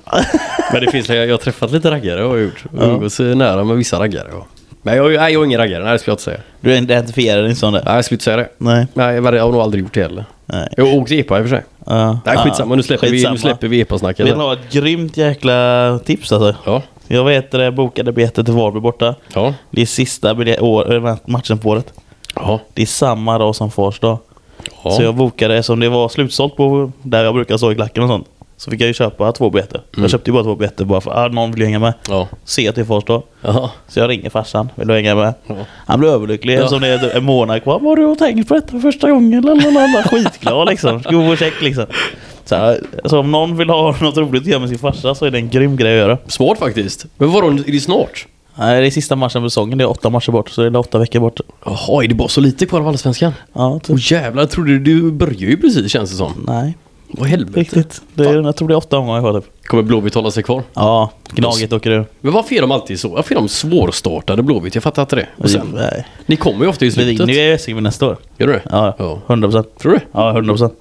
S1: Men det finns, jag har träffat lite raggare har jag gjort. Och Umgås eh, nära med vissa raggare. Ja. Men jag, nej, jag är ingen raggare, nej det skulle jag inte säga.
S2: Du identifierar dig inte som det?
S1: Nej, jag skulle inte säga det.
S2: Nej.
S1: Nej, jag har nog aldrig gjort det heller.
S2: Nej.
S1: Jag har åkt epa i och för sig.
S2: Ja.
S1: Nej, skitsamma. Nu släpper vi,
S2: Ah, Skitsamma.
S1: nu släpper vi epa-snacket.
S2: Vill du ha ett grymt jävla tips alltså?
S1: Ja,
S2: Jag vet det, bokade biljetter till Varberg borta.
S1: ja,
S2: Det är sista bilje- år, eller matchen på året.
S1: ja.
S2: Det är samma dag som Fars dag.
S1: ja.
S2: Så jag bokade, som det var slutsålt på där jag brukar stå i klacken och sånt. Så fick jag ju köpa två biljetter. Jag köpte ju bara två biljetter bara för att ah, någon vill ju hänga med.
S1: ja.
S2: Se till Fars dag.
S1: ja.
S2: Så jag ringer farsan, vill du hänga med?
S1: Ja.
S2: Han blir överlycklig
S1: Ja.
S2: eftersom det är en månad kvar. Vad har du tänkt på detta för första gången? Lalalala. Skitglad liksom. God och check liksom. Så, här, så om någon vill ha något roligt att göra med sin farsa så är det en grym grej att göra.
S1: Smart faktiskt. Men vadå, är det snart?
S2: Nej, Det är sista matchen på säsongen, det är åtta matcher bort. Så det är åtta veckor bort.
S1: Jaha, är det bara så lite kvar av Allsvenskan?
S2: Ja, typ.
S1: Åh jävlar, jag trodde du, du började ju precis känns det som.
S2: Nej,
S1: Vad helvete.
S2: riktigt. Det är, jag tror det är åtta omgångar kvar typ.
S1: Kommer Blåvitt hålla sig kvar?
S2: Ja, Gnaget åker ur.
S1: Men varför är de alltid så? Varför är de svårstartade Blåvitt? Jag fattar inte det. Och sen,
S2: Nej.
S1: ni kommer ju ofta i
S2: Vi vinner
S1: slutet.
S2: ju Eskilstuna nästa år.
S1: Gör du det?
S2: Ja,
S1: Ja.
S2: 100 procent.
S1: Tror du Mm. det?
S2: Ja, 100 procent.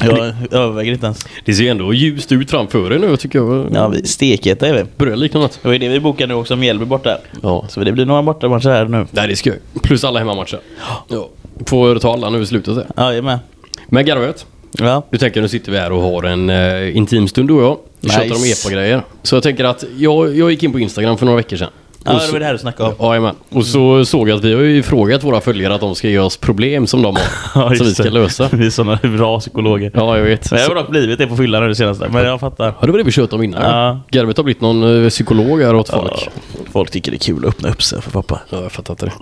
S2: jag överväger inte ens.
S1: Det ser ju ändå ljust ut framför er nu tycker jag.
S2: Ja, vi stekheta är vi.
S1: Börjar likna något.
S2: Det var ju det vi bokade nu också, Mjällby borta.
S1: Ja.
S2: Så det blir några bortamatcher här nu.
S1: Nej, det är skoj. Plus alla hemmamatcher. Ja. Får ta alla nu i slutet. där.
S2: Ja, jag är med.
S1: Men garvet.
S2: Ja.
S1: Du tänker nu sitter vi här och har en eh, intim stund du och jag. Vi
S2: Nice.
S1: tjatar om epa-grejer. Så jag tänker att jag, jag gick in på Instagram för några veckor sedan.
S2: Ja,
S1: Och
S2: det Mm.
S1: så-
S2: var det här du snackade om.
S1: Ja, jajamän. och så såg jag att vi har ju frågat våra följare att de ska ge oss problem som de har. som vi ska lösa.
S2: Vi är sådana bra psykologer.
S1: Ja, jag vet.
S2: Men jag har
S1: Så-
S2: dock blivit det på fyllan nu det senaste, men jag fattar.
S1: Ja, det var det vi tjötade om innan.
S2: Ja.
S1: Garvet har blivit någon eh, psykolog här åt folk.
S2: Ja, folk tycker det är kul att öppna upp sig för pappa.
S1: Ja, jag fattar inte det.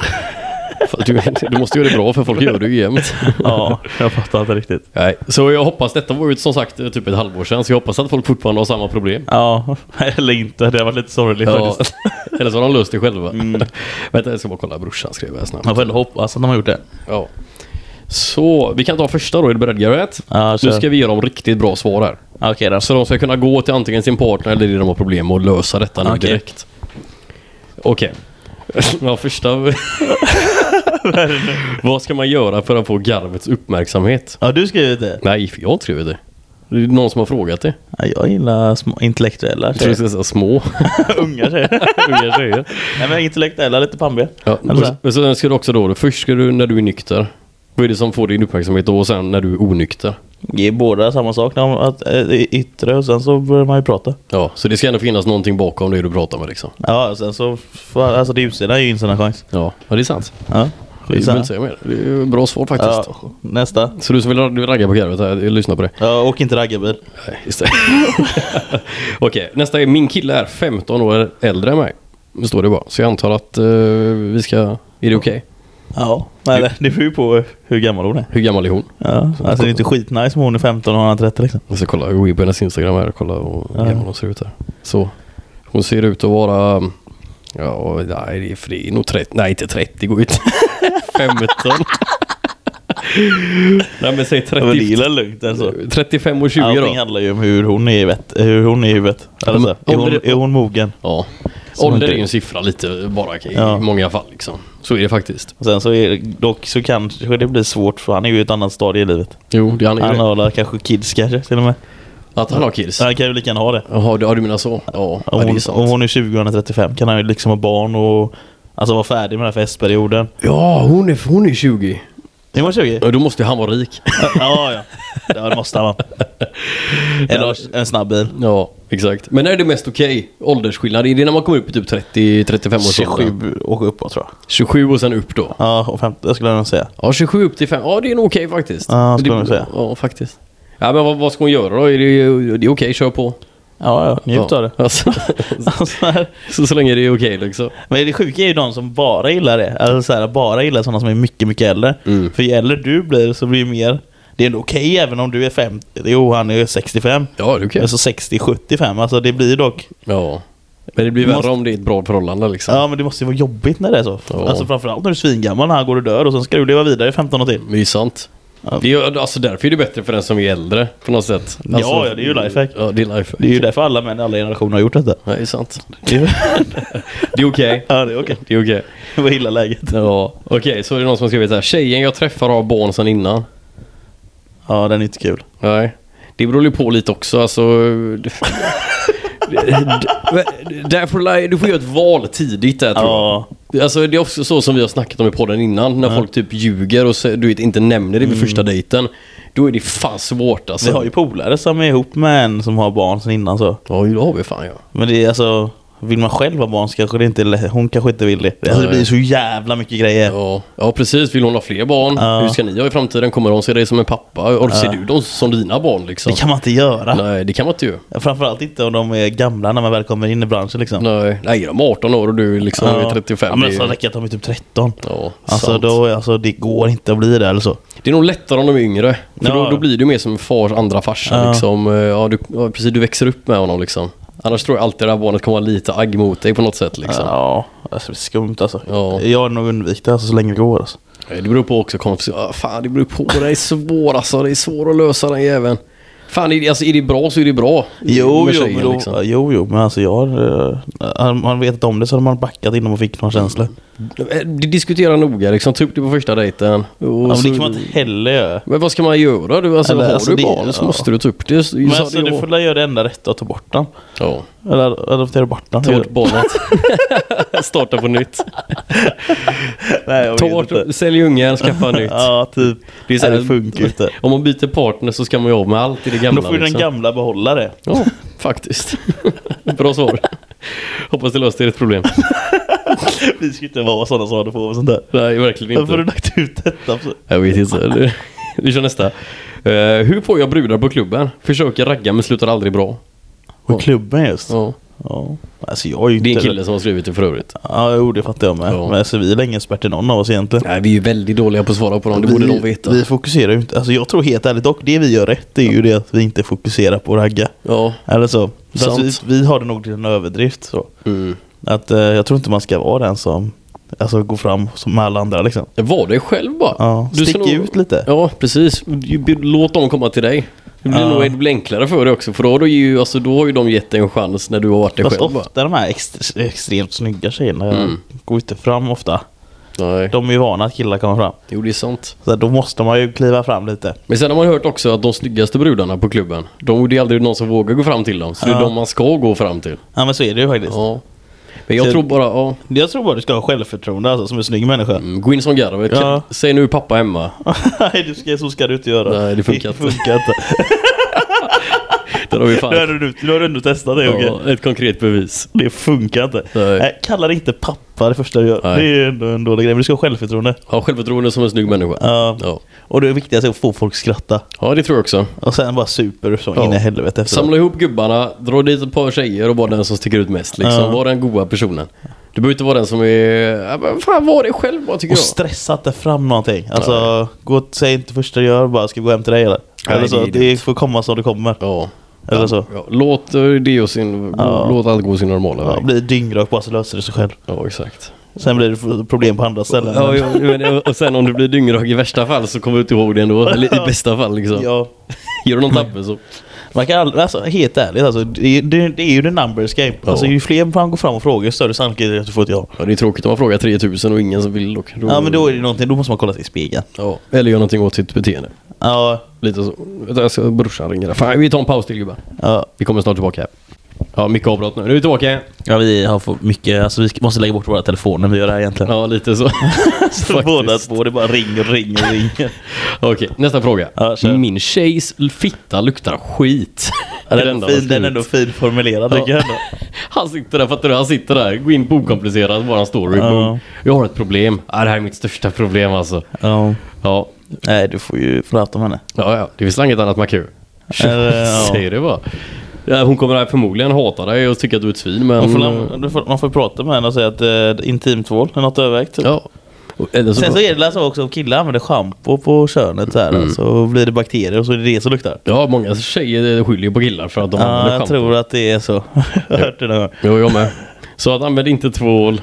S1: Fan, Du, du måste göra det bra för folk gör det ju jämt.
S2: Ja, jag fattar inte riktigt.
S1: Nej, så jag hoppas, detta var ju som sagt typ ett halvår sedan, så jag hoppas att folk fortfarande har samma problem.
S2: Ja, eller inte. Det har varit lite sorgligt
S1: Ja, Mm.
S2: faktiskt.
S1: eller så har de löst det själva. Vänta, jag ska bara kolla brorsan skrev här snabbt.
S2: Man får ändå hoppas att de har gjort det.
S1: Ja. Så, vi kan ta första då, är du beredd Garvet?
S2: Ja,
S1: Nu
S2: kör.
S1: ska vi ge dem riktigt bra svar här.
S2: Okej då.
S1: Så de ska kunna gå till antingen sin partner eller det de har problem med och lösa detta nu
S2: Okej.
S1: direkt. Okej. Ja, första... Vad ska man göra för att få garvets uppmärksamhet?
S2: Har du skrivit det?
S1: Nej, för jag har inte skrivit det. Det är någon som har frågat det.
S2: Ja, jag gillar små intellektuella
S1: Jag tror du
S2: tjejer.
S1: ska säga små.
S2: Unga tjejer.
S1: Unga tjejer.
S2: Nej men intellektuella, lite pambiga.
S1: Ja,
S2: Alltså.
S1: och sen ska du också då, först ska du när du är nykter. Vad är det som får din uppmärksamhet då och sen när du är onykter?
S2: Det är båda samma sak, när man, att, eh, yttre och sen så börjar man ju prata.
S1: Ja, så det ska ändå finnas någonting bakom det du pratar med liksom.
S2: Ja, och sen så, fan, alltså det utsidan är ju inte en chans.
S1: Ja, ja det är sant. Det
S2: Ja,
S1: behöver
S2: skitsamma.
S1: inte säga mer. Det är ju bra svar faktiskt.
S2: Ja, nästa.
S1: Så du som vill du ragga på garvet här, lyssna på det.
S2: Ja, åk inte raggarbil.
S1: Nej, just det. Okej, nästa är min kille är 15 år äldre än mig. Det står det bara. Så jag antar att eh, vi ska... Är det okej?
S2: Ja, nej, det- det beror ju på hur gammal hon är.
S1: Hur gammal är hon?
S2: Ja, alltså det är inte skitnice om hon är 15 och han är 30 liksom.
S1: Jag ska kolla, gå in på hennes Instagram här och kolla hur
S2: Ja.
S1: gammal hon ser ut här. Så. Hon ser ut att vara... um, Ja, nej det är fri. Nog 30. Nej, inte 30 går ut. 15. nej men säg
S2: Ja, men det
S1: 30.
S2: är lugnt alltså.
S1: 35 och 20
S2: Allting
S1: då.
S2: handlar ju om hur hon är i huvudet. Hur hon är i huvudet. Alltså,
S1: Ja, men
S2: är, hon,
S1: ålder-
S2: är hon mogen?
S1: Ja.
S2: Som
S1: Ålder
S2: inte-
S1: är ju en siffra lite bara i
S2: Ja.
S1: många fall liksom. Så är det faktiskt.
S2: Och sen så är det, dock så kanske det blir svårt för han är ju i ett annat stadie i livet.
S1: Jo, det han är
S2: Han
S1: ju.
S2: har väl kanske kids kanske till och med.
S1: Att han har kills.
S2: Så han kan ju lika gärna ha det.
S1: Jaha, du, ja, du menar så? Ja, ja
S2: Om
S1: det är
S2: hon, om
S1: sant.
S2: hon är 20 och han är 35 kan han ju liksom ha barn och alltså vara färdig med den här festperioden.
S1: Ja, hon är, hon är 20.
S2: Det var 20?
S1: Då måste ju han vara rik.
S2: ja, ja. Ja, det måste han vara. Eller en snabb bil.
S1: Ja, exakt. Men när är det mest okej åldersskillnad? Är det när man kommer upp i typ 30-35 års ålder?
S2: 27 och uppåt tror jag.
S1: 27 och sen upp då?
S2: Ja, och 50 jag skulle jag nog säga.
S1: Ja, 27 upp till 5. Ja, det är nog okej faktiskt.
S2: Ja, skulle
S1: Det-
S2: man säga.
S1: Ja, faktiskt. Ja, men vad, vad ska hon göra då? Är det, det är okej, kör på.
S2: Ja, ja. Njut
S1: ja.
S2: av det.
S1: Alltså,
S2: Alltså, här.
S1: så, så länge det är okej liksom.
S2: Men det sjuka är ju de som bara gillar det. Alltså så här, bara gillar sådana som är mycket, mycket äldre. För ju äldre du blir så blir det mer... Det är ändå okej även om du är 50. Jo, han är ju 65.
S1: Ja, det är okej.
S2: Alltså 60-75. Alltså det blir dock...
S1: Ja. Men det blir värre
S2: Måste-
S1: om det är ett bra förhållande liksom.
S2: Ja, men det måste ju vara jobbigt när det är så.
S1: Ja.
S2: Alltså framförallt när du är svingammal när han går och dör och sen ska du leva vidare i 15 år till.
S1: Det är ju sant.
S2: Ja.
S1: Det är, ju- alltså därför är det bättre för den som är äldre på något sätt.
S2: Ja,
S1: Alltså,
S2: ja, det är ju lifehack.
S1: Ja, det är lifehack.
S2: Det är ju därför alla män i alla generationer har gjort detta.
S1: Ja, det är sant.
S2: Det är-
S1: Det är okej.
S2: ja, det är okej.
S1: Det är okej.
S2: Det var illa läget.
S1: Ja. Okej, så är det någon som har skrivit här. Tjejen jag träffar har barn sedan innan.
S2: Ja, den är inte kul.
S1: Nej. Det beror ju på lite också. Alltså... d- d- Därför, du får göra ett val tidigt där tror jag.
S2: Ja,
S1: Alltså det är också så som vi har snackat om i podden innan. När folk typ ljuger och så, du vet, inte nämner det vid första dejten. Då är det fan svårt alltså.
S2: Mm. vi har ju polare som är ihop med en som har barn sen innan så.
S1: Ja, det har vi fan ja.
S2: Men det är alltså, vill man själv ha barn så kanske det inte är lätt. Hon kanske inte vill det. Alltså, det blir så jävla mycket grejer.
S1: Ja, ja precis. Vill hon ha fler barn?
S2: Ja.
S1: Hur ska ni ha i framtiden? Kommer hon se dig som en pappa? Och ser du dem som dina barn liksom?
S2: Det kan man inte göra.
S1: Nej, det kan man inte ju.
S2: Framförallt inte om de är gamla när man väl kommer in i branschen liksom.
S1: Nej, nej, är de 18 år och du är liksom
S2: Ja.
S1: 35.
S2: Ja, men
S1: det,
S2: så
S1: är-
S2: räcker det att de är typ 13.
S1: ja,
S2: Alltså,
S1: sant.
S2: då, alltså det går inte att bli det eller så.
S1: det är nog lättare om de är yngre. För
S2: Ja.
S1: då, då blir du mer som fars andra farsa.
S2: Ja.
S1: Liksom. Eh, Ja, du, ja, precis, du växer upp med honom liksom. Annars tror jag alltid det här barnet kommer ha lite agg mot dig på något sätt. Liksom.
S2: Ja, alltså, det är skumt alltså.
S1: Ja.
S2: Jag har nog undvikit det alltså, så länge det går. Alltså.
S1: Det beror på också kompis. Ah, fan, det beror på. Det är svårt alltså. Det är svårt att lösa den jäveln. Fan, är det, alltså, är det bra så är det bra.
S2: Jo,
S1: Med
S2: jo,
S1: tjejen,
S2: men då,
S1: liksom.
S2: jo, jo, men alltså jag har... eh, hade man vetat om det så hade man backat innan man fick några känslor.
S1: Eh, Diskutera noga liksom. Ta upp det på första dejten. Och
S2: Ja, men det
S1: så-
S2: kan man inte heller göra.
S1: Men vad ska man göra? Du, alltså,
S2: Eller,
S1: har
S2: alltså,
S1: du
S2: det-
S1: barn så
S2: ja.
S1: måste du ta upp det. Så-
S2: Men
S1: så
S2: alltså,
S1: hade
S2: du
S1: jag-
S2: får väl göra det enda rätta och ta bort den.
S1: Ja.
S2: Eller adoptera bort den.
S1: Ta bort barnet. Starta på nytt.
S2: Nej, jag
S1: Ta
S2: vet
S1: bort,
S2: inte.
S1: sälj ungen, skaffa nytt.
S2: Ja, typ.
S1: Det är så här-
S2: Nej, det funkar ju inte.
S1: Om man byter partner så ska man ju av med allt i det
S2: Men
S1: gamla.
S2: då får ju den
S1: liksom.
S2: gamla behålla det.
S1: Ja, faktiskt. Bra svar. Hoppas det löste ert problem.
S2: Vi ska inte vara sådana som håller på med sånt där.
S1: Nej, verkligen
S2: Varför har du
S1: inte.
S2: lagt ut detta?
S1: Jag vet inte. Vi kör nästa. Eh, hur får jag brudar på klubben? Försöker ragga men slutar aldrig bra.
S2: Och klubben just.
S1: Ja.
S2: Ja. Alltså jag är ju inte...
S1: Det är en kille som har skrivit det för övrigt.
S2: Ja, jo, det fattar jag med.
S1: Ja.
S2: Men alltså, vi är länge experter någon av oss egentligen.
S1: Nej, vi är ju väldigt dåliga på att svara på dem. Det borde de veta.
S2: vi fokuserar ju inte. Alltså jag tror helt ärligt dock, det vi gör rätt är ju det att vi inte fokuserar på att ragga.
S1: Ja.
S2: Eller så. Fast
S1: Sant.
S2: vi, vi har det nog till en överdrift. Så.
S1: Mm.
S2: Att, eh, jag tror inte man ska vara den som alltså, går fram som alla andra. Liksom.
S1: Var dig själv bara.
S2: Ja,
S1: Du ska
S2: stick
S1: nog-
S2: ut lite.
S1: Ja, precis. Du- Låt dem komma till dig. Det blir
S2: Ja.
S1: nog det blir enklare för dig också. För då har, du ju, alltså, då har ju de gett dig en chans när du har varit dig
S2: Fast
S1: själv. bara.
S2: ofta de här ext- extremt snygga tjejerna
S1: Mm.
S2: går inte fram ofta.
S1: Nej.
S2: De är ju vana att killar kommer fram.
S1: Jo, det är sant.
S2: Så då måste man ju kliva fram lite.
S1: Men sen har man hört också att de snyggaste brudarna på klubben, de, det är aldrig någon som vågar gå fram till dem. Så det
S2: Ja.
S1: är de man ska gå fram till.
S2: Ja men så är det ju faktiskt.
S1: Ja. Men jag
S2: Så-
S1: tror bara, ja.
S2: Jag tror bara du ska ha självförtroende alltså, som en snygg människa.
S1: Mm, Gå in som garvet.
S2: Ja.
S1: Kan- Säg nu pappa hemma.
S2: Nej, du ska, så ska du inte göra.
S1: Nej, det funkar
S2: det
S1: inte.
S2: funkar inte.
S1: Där har vi
S2: Nu har
S1: fan.
S2: du, nu har du ändå testat det Jocke.
S1: Ja, ett konkret bevis.
S2: Det funkar inte.
S1: Nej.
S2: Nej. Kalla det inte pappa det första du gör.
S1: Nej.
S2: Det är ändå en dålig grej. Men du ska ha självförtroende.
S1: Ha självförtroende som en snygg människa.
S2: Ja.
S1: Ja.
S2: Och det viktigaste är att få folk skratta.
S1: ja, det tror jag också.
S2: Och sen bara super så
S1: Ja.
S2: in i helvete efteråt.
S1: Samla ihop gubbarna, dra dit ett par tjejer och vara den som sticker ut mest. Liksom.
S2: Ja.
S1: Var den goa personen. Du behöver inte vara den som är... Ja, men Fan, var det själv bara tycker
S2: Och
S1: jag.
S2: stressa inte fram någonting. Alltså, gå, säg inte första du gör bara ska vi gå hem till dig eller?
S1: Nej,
S2: eller så,
S1: det är
S2: det, får komma som det kommer.
S1: Ja.
S2: Eller så.
S1: Ja, låt eh, det och sin...
S2: Ja.
S1: Låt allt gå sin normala
S2: Ja,
S1: väg.
S2: blir dyngrak bara så löser det sig själv.
S1: Ja, exakt.
S2: Sen blir det problem på andra ställen.
S1: Ja, ja, men, och sen om du blir dyngrak i värsta fall så kommer du inte ihåg det ändå. Eller i bästa fall liksom.
S2: Ja.
S1: Gör du någon tabbe så...
S2: Man kan aldrig, alltså, helt ärligt alltså, det, det, det är ju the numbers game.
S1: Ja.
S2: Alltså, ju fler man går fram och frågar ju större sannolikhet är det att du får ett ja.
S1: Ja, det är tråkigt om man frågar 3000 och ingen som vill dock. Då...
S2: Ja men då är det någonting, då måste man kolla sig i spegeln.
S1: Ja, eller gör någonting åt sitt beteende.
S2: Ja,
S1: Lite så. Vänta, jag ska- Brorsan ringer. Fan, vi tar en paus till gubbar.
S2: ja.
S1: Vi kommer snart tillbaka här. Ja, mycket avbrott nu. Nu är vi tillbaka.
S2: Ja, vi har fått mycket, alltså vi ska- måste lägga bort våra telefoner när vi gör det här egentligen.
S1: Ja, lite så.
S2: så båda två, det bara ringer, ringer, ringer.
S1: Okej, nästa fråga.
S2: Ja, kör.
S1: Min tjejs fitta luktar skit.
S2: Ja,
S1: Det är det
S2: den,
S1: enda
S2: är fin,
S1: man ska
S2: den är
S1: ut.
S2: ändå fin formulerad
S1: Ja.
S2: tycker jag ändå.
S1: Han sitter där, fattar du? Han sitter där. Gå in på okomplicerat, våran story.
S2: Ja.
S1: Boom. Jag har ett problem. Ja, det här är mitt största problem alltså.
S2: Ja. Mm.
S1: Ja,
S2: Nej, du får ju prata om henne.
S1: ja, ja. det finns inget annat man kan göra.
S2: Eller, eh, ja.
S1: Säger det bara. Ja, hon kommer här förmodligen hata dig och tycka att du är ett svin, men...
S2: Man får, man, får, man får prata med henne och säga att eh, intimtvål är något övervägt. Typ.
S1: Ja. Och- Eller så...
S2: Sen så är det väl så också om killar använder schampo på könet så här, så blir det bakterier och så är det det som luktar.
S1: Ja, många tjejer skyller ju på killar för att de
S2: Ja,
S1: använder
S2: jag
S1: schampo.
S2: tror att det är så. Jag har hört det någon gång.
S1: Jo, jag med. Så att använd inte tvål.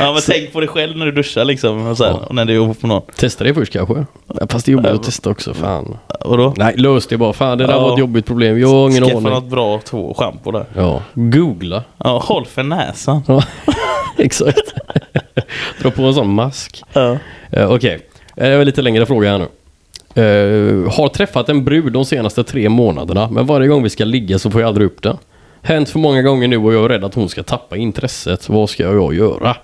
S2: Ja, men tänk på dig själv när du duschar liksom. Och så här,
S1: Ja.
S2: och när du är ihop med någon.
S1: Testa det först kanske. Ja, Fast det är jobbigt att testa också, fan.
S2: Vadå?
S1: Nej, lös det bara. Fan, det där
S2: Ja.
S1: var ett jobbigt problem. Jag har ingen
S2: Skaffa
S1: aning.
S2: något bra två schampo där.
S1: Ja. Googla.
S2: Ja, håll för näsan.
S1: Ja, exakt. Dra på en sån mask.
S2: Ja.
S1: Eh, Okej, Eh, det var en lite längre fråga här nu. Eh, har träffat en brud de senaste tre månaderna, men varje gång vi ska ligga så får jag aldrig upp den. Hänt för många gånger nu och jag är rädd att hon ska tappa intresset. Vad ska jag göra?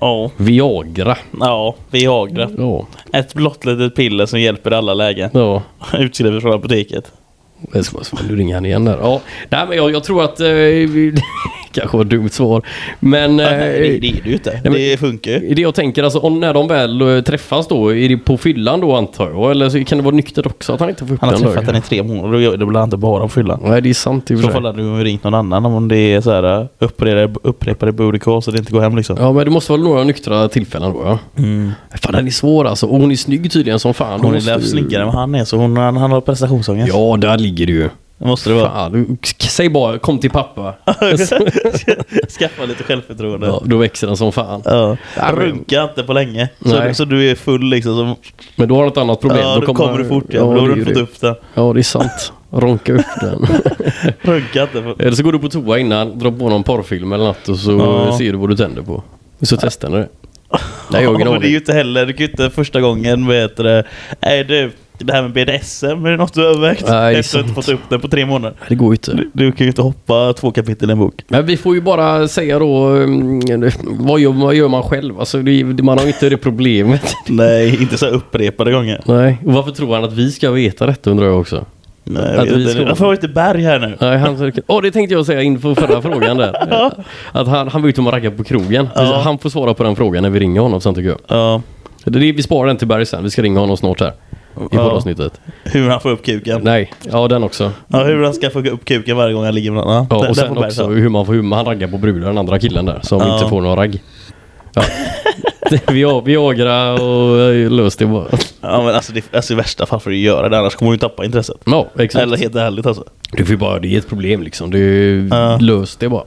S2: Ja.
S1: Viagra.
S2: Ja, Viagra.
S1: Ja.
S2: Ett blått litet piller som hjälper i alla lägen.
S1: Ja.
S2: Utskrivet från apoteket.
S1: Jag ska bara, nu ringer han igen där. Ja. Nej, men jag, jag tror att... Eh, vi- kanske var ett dumt svar. Men...
S2: Nej, det,
S1: Eh,
S2: det är det ju inte.
S1: men-
S2: Det funkar ju.
S1: det jag tänker, alltså om när de väl eh, träffas då, är det på fyllan då antar jag? Eller så kan det vara nykter också att han inte får upp
S2: Han har
S1: den
S2: träffat
S1: högen?
S2: henne i tre månader och det blir han inte bara om fyllan.
S1: Nej, det är sant i och för
S2: I så
S1: sig.
S2: fall hade du ringt någon annan om det är så här eh, upprepade, upprepade boodycalls så det inte går hem liksom.
S1: Ja men det måste vara några nyktra tillfällen då ja. Fan den är svår alltså. Och hon är snygg tydligen som fan. Då
S2: Mm. Hon är
S1: måste
S2: lite
S1: du-
S2: snyggare än vad han är så hon, han, han har prestationsångest.
S1: Ja där ligger du ju.
S2: Det måste det vara.
S1: Fan, du, k- säg bara kom till pappa.
S2: Skaffa lite självförtroende.
S1: Ja,
S2: Ja.
S1: då växer den som fan. Ja, men-
S2: Runka inte på länge. Så,
S1: Nej.
S2: så du är full liksom. Så,
S1: Men då har du ett annat problem.
S2: ja, då kommer, du fort igen. då har
S1: det är
S2: du
S1: ju
S2: fått
S1: det.
S2: upp den.
S1: Ja det är sant. Ronka upp den.
S2: Runka inte. På,
S1: Eller så går du på toa innan, drar på någon porrfilm eller något och så
S2: Ja.
S1: ser du vad du tänder på. Och så testar ni det. Nej, jag har ingen
S2: men det är ju
S1: aning.
S2: inte heller, du kan ju inte första gången vet det. Nej du, det här med BDSM, är det något du har övervägt?
S1: Nej, det är
S2: Efter att du inte
S1: sant.
S2: fått upp det på tre månader.
S1: Det går ju inte.
S2: Du, du kan ju inte hoppa två kapitel i en bok.
S1: Men vi får ju bara säga då, mm, vad gör, vad gör man själv? Alltså, det, man har ju inte det problemet.
S2: Nej, inte så här upprepade gånger.
S1: Nej, och varför tror han att vi ska veta detta undrar jag också?
S2: Nej,
S1: Att
S2: jag vet
S1: vi
S2: inte.
S1: ska-
S2: Varför har vi inte berg här nu?
S1: Nej, han... Åh, det tänkte jag säga inför förra frågan där. Eh, Att han, han var ute och raggade på krogen. Vi-
S2: Ja.
S1: Han får svara på den frågan när vi ringer honom sen tycker jag.
S2: Ja,
S1: Det, är det, vi sparar den till Barry sen, vi ska ringa honom snart här. I
S2: Ja.
S1: poddavsnittet.
S2: hur han får upp kuken.
S1: Nej, ja den också.
S2: Ja, hur han ska få upp kuken varje gång han ligger med någon. Ja,
S1: Ja,
S2: där-
S1: och
S2: där
S1: sen
S2: får berg
S1: också
S2: ta.
S1: hur man, får- hur man raggar på brudar, den andra killen där som
S2: Ja.
S1: inte får några ragg. Ja. Vi- Viagra och eh, lös det bara.
S2: Ja, men alltså, det, alltså i värsta fall får du göra det, annars kommer du ju tappa intresset.
S1: Ja, exakt.
S2: Eller helt ärligt alltså.
S1: Du får ju bara, det är ett problem liksom. Du
S2: Ja.
S1: lös det bara.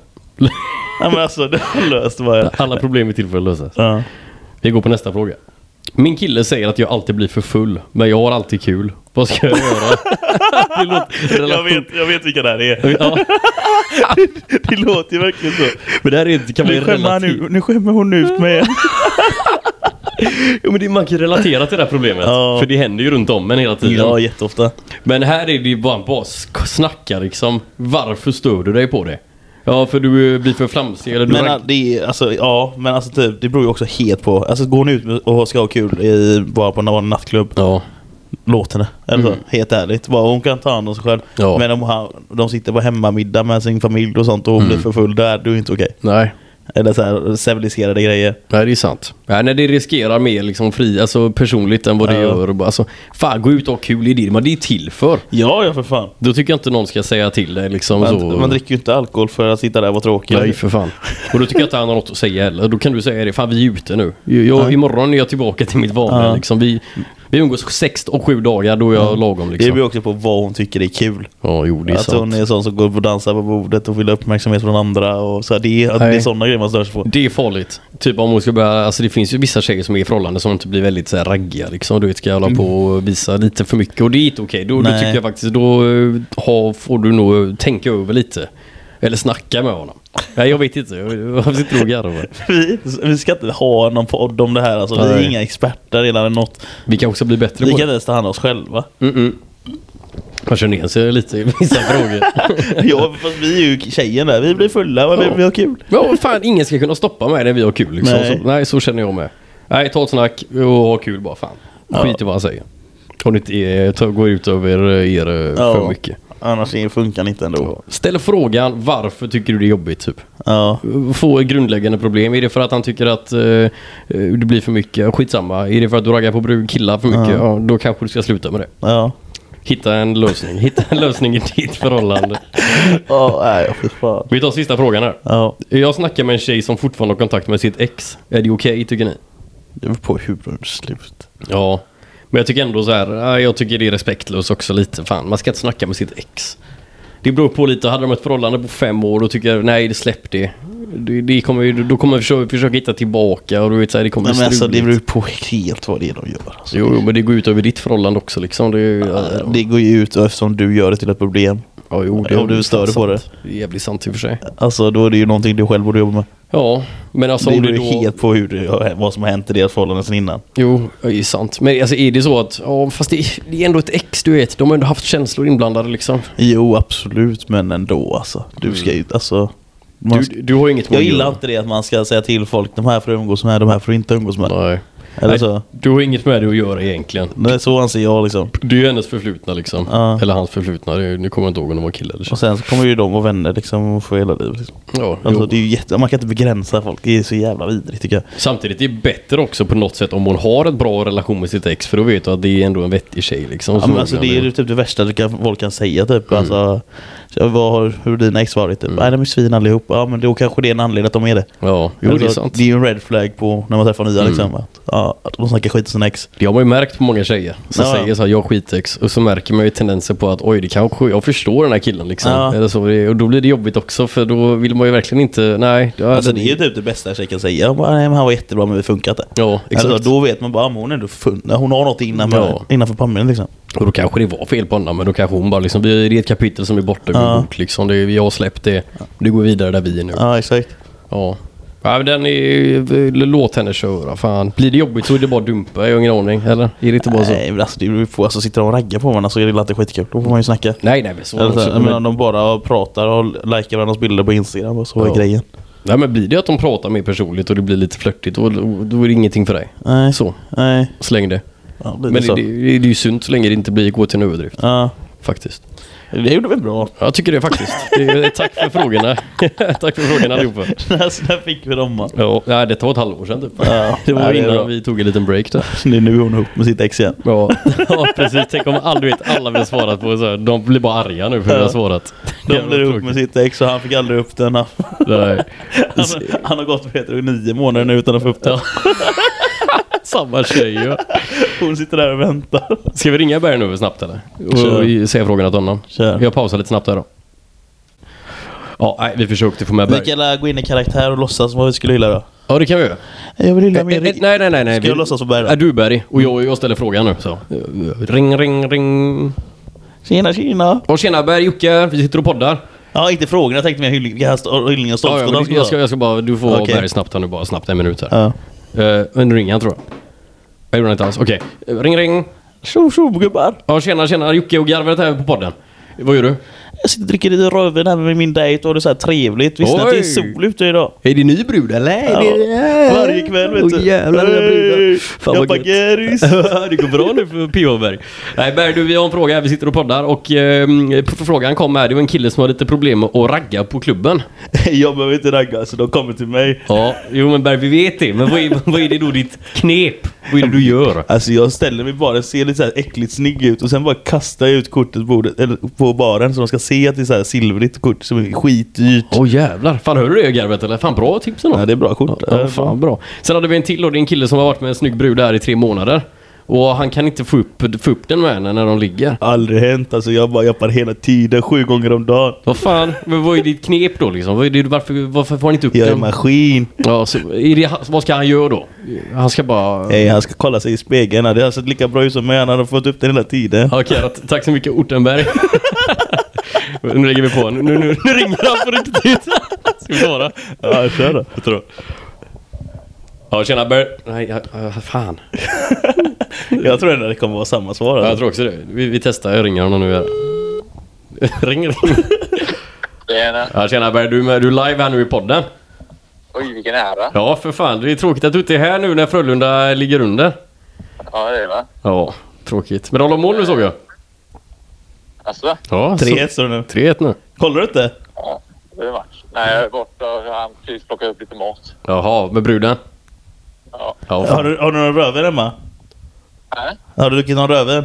S2: Ja, men alltså, det har löst bara.
S1: Alla problem är till för att lösas.
S2: Ja.
S1: Vi går på nästa fråga. Min kille säger att jag alltid blir för full, men jag har alltid kul. Vad ska jag göra? det låter
S2: Jag,
S1: relation-
S2: vet, jag vet vilka det här är.
S1: Ja,
S2: Det låter ju verkligen så.
S1: men det här är, kan man ju
S2: Nu skämmer, han
S1: relatera.
S2: ut, nu skämmer hon ut mig igen.
S1: Jo, men det, man kan ju relatera till det här problemet.
S2: Ja.
S1: För det händer ju runt om en hela tiden.
S2: Ja, jätteofta.
S1: Men här är det ju bara, bara sk- snacka liksom. Varför stör du dig på det? Ja, för du eh, blir för flamsig eller du
S2: Men
S1: ragg-
S2: ah, det är, alltså, ja, men alltså typ, det beror ju också helt på. Alltså går ni ut med- och ska ha kul i, bara på någon nattklubb,
S1: Ja,
S2: låt henne. Eller så, helt ärligt. Bara, hon kan ta hand om sig själv.
S1: Ja.
S2: Men om han, de sitter på hemmamiddag med sin familj och sånt och hon blir för full där, då är det inte okej.
S1: nej.
S2: Eller så här civiliserade grejer.
S1: Nej, det är sant. Nej, när det riskerar mer liksom fri, alltså personligt än vad det
S2: Ja.
S1: gör. Alltså, fan, gå ut och ha kul i det, men det är till för.
S2: Ja, ja för fan.
S1: Då tycker jag inte någon ska säga till dig liksom så.
S2: Man, man dricker ju inte alkohol för att sitta där och vara tråkig.
S1: Nej, för fan. Och då tycker jag inte han har något att säga heller. Då kan du säga det. Fan, vi är ute nu. Jag, Imorgon är jag tillbaka till mitt vanliga
S2: Ja.
S1: liksom. Vi, vi umgås sex och sju dagar, då är jag lagom
S2: Det beror
S1: liksom.
S2: ju också på vad hon tycker är kul.
S1: Ja, jo, det är
S2: Att
S1: sant.
S2: hon är sån som går upp och dansar på bordet och vill ha uppmärksamhet från andra. Och så här, det, är, att det är
S1: Nej.
S2: sådana grejer man stör sig på.
S1: Det är farligt. Typ om hon ska börja, alltså det finns ju vissa tjejer som är i förhållande som inte blir väldigt så här, raggiga liksom. Du vet, ska jag hålla på och visa lite för mycket och det är inte okej. Då, då
S2: Mm. Nej.
S1: tycker jag faktiskt, då eh, ha, får du nog eh, tänka över lite. Eller snacka med honom. Nej, jag vet inte. Jag jag sitter och garvar.
S2: Vi, vi ska inte ha någon podd om det här alltså. Vi är
S1: Nej.
S2: inga experter eller något.
S1: Vi kanske ska bli bättre
S2: Vi
S1: på
S2: kan inte
S1: det.
S2: ens ta hand om oss själva.
S1: Mm-mm. Man kör ner sig lite i vissa frågor.
S2: Ja, fast vi är ju tjejen där. Vi blir fulla och vi,
S1: Ja.
S2: vi har kul.
S1: Ja, vad fan, ingen ska kunna stoppa mig när vi har kul. Liksom.
S2: Nej.
S1: Nej. Så, nej, så känner jag med. Nej, ta ett snack och ha kul bara. Fan. Skit i vad han säger. Om det inte är- ta- går ut över er eh, för mycket.
S2: Annars är- funkar det inte ändå.
S1: Ställ frågan varför tycker du det är jobbigt typ?
S2: Ja.
S1: Få ett grundläggande problem. Är det för att han tycker att eh, eh, det blir för mycket? Skitsamma. Är det för att du raggar på bru- killar för mycket? Ja, då kanske du ska sluta med det.
S2: Ja.
S1: Hitta en lösning. Hitta en lösning i ditt förhållande.
S2: Ja, nej, fy fan.
S1: Vi tar sista frågan här.
S2: Ja,
S1: Jag snackar med en tjej som fortfarande har kontakt med sitt ex. Är det okej tycker ni?
S2: det beror på hur de slut.
S1: Ja. Men jag tycker ändå så här, eh, jag tycker det är respektlöst också lite. Fan, man ska inte snacka med sitt ex. Det beror på lite, hade de ett förhållande på fem år då tycker jag, nej det släpp det. det, det kommer, ju- då kommer jag försöka, försöka hitta tillbaka och du vet så här, det kommer
S2: Nej,
S1: bli
S2: men alltså, det
S1: struligt.
S2: beror på helt vad det är de gör. Alltså.
S1: Jo, jo, men det går ut över ditt förhållande också liksom. Det, är ju-
S2: Eh, Det går ju ut eftersom du gör det till ett problem.
S1: ja, jo,
S2: om du stör dig på det.
S1: Det är jävligt sant i och för sig.
S2: Alltså då är det ju någonting du själv borde jobba med.
S1: Ja, men alltså
S2: det
S1: om
S2: beror
S1: du
S2: ju
S1: då...
S2: helt på hur du, vad som har hänt i deras förhållande sen innan.
S1: Jo, det är sant. Men alltså är det så att, ja fast det, det är ändå ett ex du vet. De har ändå haft känslor inblandade liksom.
S2: Jo absolut men ändå alltså. Du ska ju, alltså. Man,
S1: Mm. Du, du har ju inget med
S2: jag
S1: att
S2: gillar
S1: göra.
S2: inte det att man ska säga till folk de här får du umgås med, de här får du inte umgås med.
S1: Nej.
S2: Eller
S1: Nej,
S2: så.
S1: Du har inget med det att göra egentligen.
S2: Nej, så anser jag liksom.
S1: Det är ju hennes förflutna liksom.
S2: Ja.
S1: Eller hans förflutna. Det är- Nu kommer jag inte ihåg om det var kille eller tjej.
S2: Och sen så kommer ju de vara vänner liksom och få hela livet. Liksom.
S1: Ja,
S2: Alltså,
S1: jo.
S2: det är ju jätte, man kan inte begränsa folk, det är så jävla vidrigt tycker jag.
S1: Samtidigt är det bättre också på något sätt om hon har ett bra relation med sitt ex. För då vet du att det är ändå en vettig tjej liksom.
S2: Ja,
S1: som
S2: men alltså, det är
S1: umgås.
S2: ju typ det värsta du kan, folk kan säga typ.
S1: Mm.
S2: Alltså, så, vad har, hur har dina ex varit? Typ. Nej de är svin allihop. Ja men då kanske det är en anledning att de är det.
S1: Ja, jo, det är
S2: Alltså,
S1: sant. Mm.
S2: Det är ju en red flag på när man träffar nya liksom. Att, ja, att de snackar skit om sina ex.
S1: Det har man ju märkt på många tjejer som
S2: Ja.
S1: säger så här, jag har skitex och så märker man ju tendenser på att oj, det kanske, jag förstår den här killen liksom.
S2: Ja.
S1: Eller så, Det- och då blir det jobbigt också för då vill man ju verkligen inte, nej. då-
S2: Alltså det är ju typ det bästa en tjej kan säga. Jag Bara, nej, men han var jättebra men vi funkar inte.
S1: Ja, exakt.
S2: Alltså, då vet man bara, ah, men hon är ändå funna. Hon har något innanför,
S1: Ja.
S2: innanför pannbenet liksom.
S1: Och då kanske det var fel på honom, men då kanske hon bara liksom, "Vi- det är ett kapitel som är borta ur
S2: Ja.
S1: vår bok liksom. Det, jag har släppt det, det går vidare där vi är nu. Ja.
S2: Ja exakt.
S1: ja. men den är, låt henne köra fan. Blir det jobbigt så är det bara att dumpa, jag har ingen aning. Eller? Är det inte bara så?
S2: Nej men alltså, det beror ju på, alltså sitter de och raggar på varandra så är det alltid skitkul. Då får man ju snacka.
S1: Nej, nej men så.
S2: Eller så,
S1: så
S2: jag menar, om de bara pratar och likar varandras bilder på Instagram och så är
S1: Ja.
S2: grejen.
S1: nej men blir det att de pratar mer personligt och det blir lite flörtigt, då, då är det ingenting för dig.
S2: Nej.
S1: Så,
S2: Nej.
S1: släng det.
S2: Ja, men
S1: Men
S2: så.
S1: det, det, det är ju sunt så länge det inte blir gå till en överdrift.
S2: Ja.
S1: Faktiskt.
S2: Det gjorde väl bra.
S1: Jag tycker det faktiskt. Det är, tack för frågorna. tack för frågorna allihopa.
S2: alltså, där fick vi dem man.
S1: Ja, nej, detta var ett halvår sedan typ.
S2: Ja,
S1: Det var
S2: nej, är
S1: innan
S2: bra.
S1: vi tog en liten break där.
S2: Det är nu hon är ihop med sitt ex igen.
S1: Ja, ja precis. Tänk om all, du vet, alla vi har svarat på så här. De blir bara arga nu för att vi har svarat.
S2: De blir ihop med sitt ex och han fick aldrig upp den. Han,
S1: Nej.
S2: han,
S1: Alltså,
S2: han har gått med Peter i nio månader nu utan att få upp den.
S1: Ja. Samma tjej ja.
S2: Hon sitter där och väntar.
S1: Ska vi ringa Berg nu snabbt eller?
S2: Kör.
S1: Och säga frågorna till honom?
S2: Kör.
S1: Jag pausar lite snabbt här då. Ja, nej, vi försökte få med
S2: Vi
S1: Berg.
S2: kan alla gå in i karaktär och låtsas vad vi skulle hylla då.
S1: Ja, det kan vi göra.
S2: Jag vill hylla
S1: Eh, eh,
S2: mer.
S1: nej, nej, nej. nej.
S2: Ska jag låtsas vara Berg då?
S1: Är du Berg? Och jag, jag ställer frågan nu. Så. Ring, ring, ring.
S2: Tjena tjena.
S1: Och tjena Berg, Jocke. Vi sitter och poddar.
S2: Ja inte frågorna, jag tänkte mer hyllning, hyllning och
S1: Ja, ja, men
S2: stoltskott.
S1: jag, ska, jag ska bara... Du får vara
S2: Okej.
S1: Berg snabbt här nu bara. Snabbt, en minut här.
S2: Ja.
S1: Eh, men nu ringer han tror jag. Jag gjorde inte alls. Okej. Eh, Ring, ring.
S2: Tjo tjo gubbar.
S1: Ja, tjena, tjena. Jocke och Garvet här på podden. Vad gör du?
S2: Jag sitter och dricker lite rödvin här med min dejt och har det så här trevligt. Visst att det är
S1: Oj.
S2: sol ute idag?
S1: Är det ny brud eller?
S2: Ja. Varje kväll vet du.
S1: Åh, jävlar, dina brudar. Fan,
S2: jag
S1: vad gött.
S2: baggeris.
S1: det går bra nu för P.O. Berg. Nej Berg, du, vi har en fråga här. Vi sitter och poddar och eh, frågan kom här. Det var en kille som har lite problem med att ragga på klubben.
S2: Jag behöver inte ragga så de kommer till mig.
S1: Ja, jo men Berg, vi vet det. Men vad är, vad är det då ditt knep? Vad är det du gör?
S2: Alltså jag ställer mig bara och ser lite så här äckligt snygg ut och sen bara kastar jag ut kortet på, bordet, eller på baren så de ska se att det är så här silvrigt kort som är skitdyrt.
S1: Åh jävlar. Fan, hör du det Garvet eller? Fan, bra tips ändå.
S2: Ja, det är bra kort.
S1: Ja, fan bra. Sen hade vi en till då. Det är en kille som har varit med en snygg brud där i tre månader. Och han kan inte få upp, få upp den med henne när de ligger.
S2: Aldrig hänt alltså. Jag bara jappar hela tiden, sju gånger om dagen.
S1: Vad fan? Men vad är ditt knep då liksom? Vad är det, varför, varför får han inte upp
S2: Jag är en
S1: den?
S2: maskin.
S1: Ja, så, är det, han- vad ska han göra då? Han ska bara...
S2: Nej, han ska kolla sig i spegeln. Det har sett lika bra ut som mig. Han har fått upp den hela tiden.
S1: Okej, då, t- tack så mycket Ortenberg. nu lägger vi på. Nu, nu, nu, nu ringer han på riktigt. ska vi svara?
S2: Ja, kör då.
S1: Jag tror. Ja, tjena Berg. Nej, ja, ja, fan.
S2: Jag tror ändå det kommer vara samma svar.
S1: Ja, jag
S2: Alltså.
S1: tror också det. Vi, vi testar. Jag ringer honom nu. Här. ring, ring.
S3: Tjena.
S1: Ja, tjena Berg, du, är med, du är live här nu i podden.
S3: Oj, vilken ära.
S1: Ja, för fan. Det är tråkigt att du inte är här nu när Frölunda ligger under.
S3: Ja, det är va?
S1: Ja, tråkigt. Men de har mål nu såg jag.
S3: Alltså,
S1: Ja, så-
S2: 3-1 står det nu.
S1: 3-1 nu.
S2: Kollar du inte?
S3: ja, det är match. Nej, jag är borta och han precis plockat upp lite mat.
S1: Jaha, med bruden?
S3: Ja.
S1: Ja,
S2: Har
S1: fan.
S2: du, har du någon rödvin hemma?
S3: Nej,
S2: Har du druckit någon rödvin?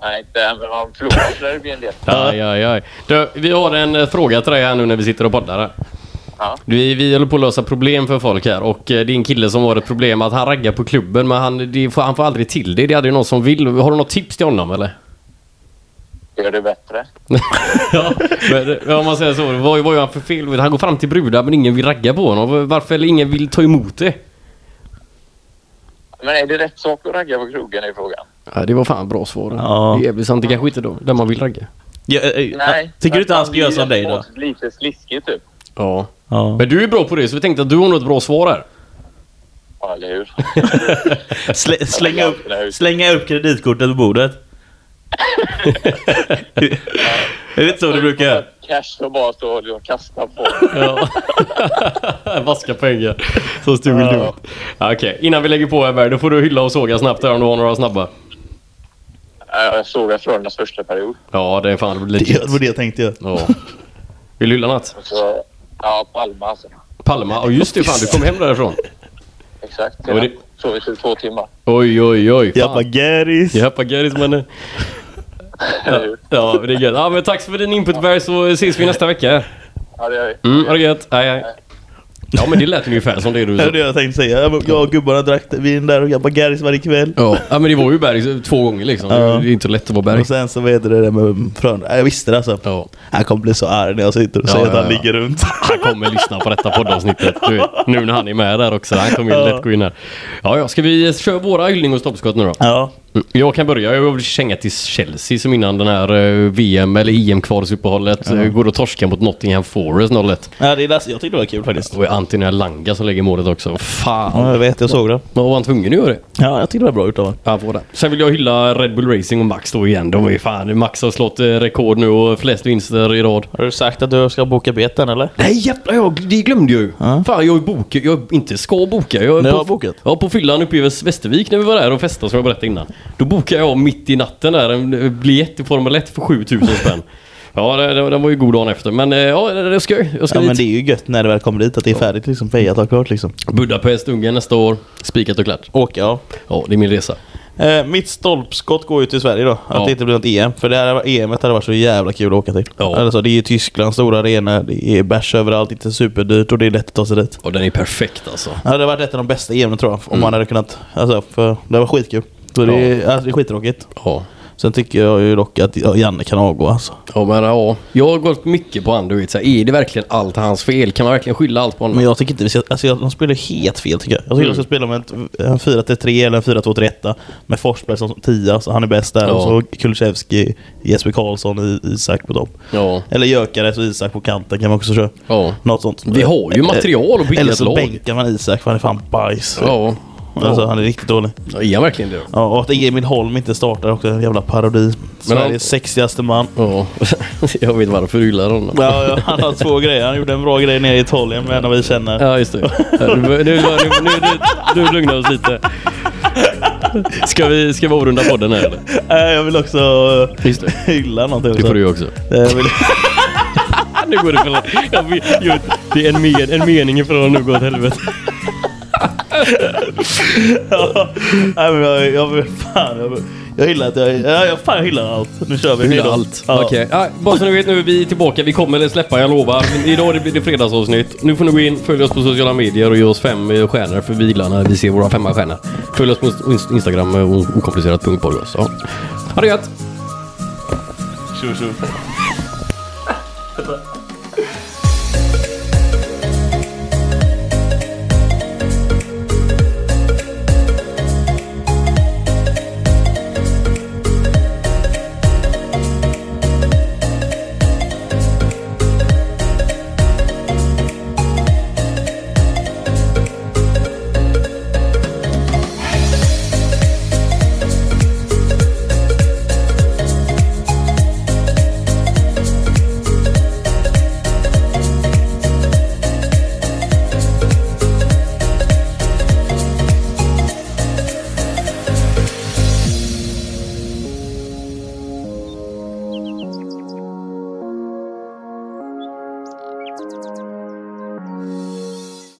S3: nej inte än, men han förlorar så det blir en del.
S1: Aj, aj, aj. Du, vi har en eh, fråga till dig här nu när vi sitter och poddar. här.
S3: Ja.
S1: Du, vi, vi håller på att lösa problem för folk här och eh, det är en kille som har ett problem att han raggar på klubben men han, det, får- han får aldrig till det. Det är aldrig någon som vill. Har du något tips till honom eller?
S3: Gör det bättre.
S1: Ja, men, eh, om man säger så. Vad, vad gör han för fel? Han går fram till brudar men ingen vill ragga på honom. Varför eller ingen vill ta emot det?
S3: Men är det rätt sak att ragga på krogen är frågan?
S1: Ja, det var fan bra svar.
S2: Ja.
S1: Det är jävligt sant. Det kanske inte är då, där man vill ragga.
S2: Ja, eh, eh,
S3: Nej.
S2: Tycker du inte han
S3: Det
S2: ska
S3: blir
S2: göra som
S3: ändå
S2: dig då?
S3: Lite sliskigt typ.
S1: Ja.
S2: Ja.
S1: Men du är bra på det så vi tänkte att du har något bra svar här.
S3: Ja, eller hur?
S2: Slä, slänga, upp, slänga upp kreditkortet på bordet. är det inte så du brukar göra?
S3: Cash och bara stå och kasta på.
S1: Ja. Vaska pengar. Så stugel
S2: Ja.
S1: du ut. Okej, innan vi lägger på här Berg, då får du hylla och såga snabbt här om du har några snabba.
S3: Ja, Jag såg det Frölundas första period.
S1: Ja, det är fan
S2: Det
S1: legit.
S2: var det jag tänkte göra.
S1: Ja. Vill du hylla något?
S3: Så, ja, Palma alltså.
S1: Palma? Ja just det, fan du kom hem därifrån.
S3: Exakt.
S1: Ja, men det-
S3: Sov i typ två timmar.
S1: Oj, oj, oj.
S2: Jag bara
S1: Fan.
S2: Garris.
S1: Jappa Garris mannen.
S3: Eller hur?
S1: Ja, det är gött. Ja, men tack för din input Berg så ses vi nästa vecka.
S3: Ja, det gör vi.
S1: Mm, ha det gött. Hej, hej. Ja men det lät ungefär som det du
S2: Det
S1: sa.
S2: var det jag tänkte säga. Jag- Jag och gubbarna drack vin där och jag bara Garris varje kväll.
S1: Ja men det var ju Berg två gånger liksom. Det är inte lätt att vara Berg.
S2: Och sen så vad heter det där med Frölunda. Jag visste det alltså.
S1: Ja.
S2: Han kommer bli så arg när jag sitter och
S1: Ja,
S2: säger
S1: ja,
S2: att han
S1: ja.
S2: ligger runt.
S1: Han kommer lyssna på detta poddavsnittet. Du vet, nu när han är med där också. Han kommer ju lätt gå in här. Ja, ja, ska vi köra våra yngling och stoppskott nu då?
S2: Ja.
S1: Mm, Jag kan börja. Jag vill känga till Chelsea som innan den här eh, VM eller EM-kvalsuppehållet eh, går och torskar mot Nottingham Forest 0-1.
S2: ja det är läs- jag tyckte det var kul faktiskt.
S1: Och Anthony Elanga som lägger målet också. Fan!
S2: Ja, jag vet, jag såg det.
S1: Vad var han tvungen att göra det?
S2: Ja, jag tyckte det var bra gjort av honom.
S1: Ja, får det. Sen vill jag hylla Red Bull Racing och Max då igen. De är ju fan... Max har slått eh, rekord nu och flest vinster i rad.
S2: Har du sagt att du ska boka beten eller?
S1: Nej jävlar, jag, det glömde jag ju. Fan jag bokar, jag inte ska boka. Jag,
S2: Ni
S1: på-
S2: har bokat?
S1: Ja, på fyllan uppe i Väs- Västervik när vi var där och festade som jag berättade innan. Då bokade jag mitt i natten där en eh, biljett i Formel 1 för 7000 spänn. ja, det- det- den var ju god dagen efter. Men eh, ja, det det ska jag. Jag ska
S2: Ja men
S1: dit.
S2: det är ju gött när det väl kommer dit att det är färdigt liksom. Fejat har klart liksom.
S1: Budapest, Ungern nästa år. Spikat och klart.
S2: Åka ja.
S1: Ja, det är min resa.
S2: Eh, mitt stolpskott går ju till Sverige då. Att
S1: Ja.
S2: det inte blir något EM. För det här EMet hade varit så jävla kul att åka till.
S1: Ja.
S2: Alltså, det är ju Tyskland, stora arena, det är bärs överallt, inte superdyrt och det är lätt att ta sig dit.
S1: Och den är perfekt alltså.
S2: Ja, det hade varit ett av de bästa EMen tror jag. Om
S1: Mm.
S2: man hade kunnat. Alltså, för det var skitkul. Så det, är, alltså, det är skittråkigt.
S1: Ja.
S2: Sen tycker jag ju dock att ja, Janne kan avgå alltså.
S1: Ja men ja, jag har gått mycket på han du vet. Så här, är det verkligen allt hans fel? Kan man verkligen skylla allt på honom?
S2: Men jag tycker inte vi ska, alltså jag, de spelar ju helt fel tycker jag. Jag tycker
S1: Mm.
S2: de ska spela med en, en 4-3 eller en 4-2-3 med Forsberg som 10, så han är bäst där.
S1: Ja.
S2: Och så Kulusevski, Jesper Karlsson, I- Isak på topp.
S1: Ja.
S2: Eller Gyökeres och Isak på kanten kan man också köra.
S1: Ja.
S2: Något sånt.
S1: Vi har ju material att bygga
S2: Eller
S1: ett
S2: så
S1: lag.
S2: bänkar man Isak för han är fan bajs.
S1: Ja.
S2: Alltså han är riktigt dålig.
S1: Ja, är han verkligen det?
S2: Ja, och att Emil Holm inte startar också, en jävla parodi. Sveriges
S1: han-
S2: sexigaste man.
S1: Ja, jag vet varför du gillar honom.
S2: Ja, ja, han har två grejer. Han gjorde en bra grej nere i Italien med en av vi känner.
S1: Ja, just det. Nu, nu, nu, nu, nu, nu lugnar vi oss lite. Ska vi, ska vi avrunda podden här eller?
S2: Äh, Jag vill också eh,
S1: Just det.
S2: hylla någonting.
S1: Det
S2: också.
S1: får du ju också.
S2: Eh, Jag vill,
S1: Nu går det för jag vet, jag vet, Det är en, men, en mening ifrån att nu går åt helvete.
S2: ja, nej, men jag, jag vill fan. Jag, vill- jag gillar att jag, ja, jag, fan, jag gillar allt. Nu kör vi. Hej då. Ja.
S1: Okej. Ja, bara så ni vet nu, vi är tillbaka. Vi kommer att släppa, jag lovar. Men Idag det blir det fredagsavsnitt. Nu får ni gå in, följ oss på sociala medier och ge oss fem eh, stjärnor för vi gillar när vi ser våra femma stjärnor. Följ oss på inst- Instagram, eh, o- okomplicerat.podcast. Ja. Ha det gött!
S2: Tjo, tjo.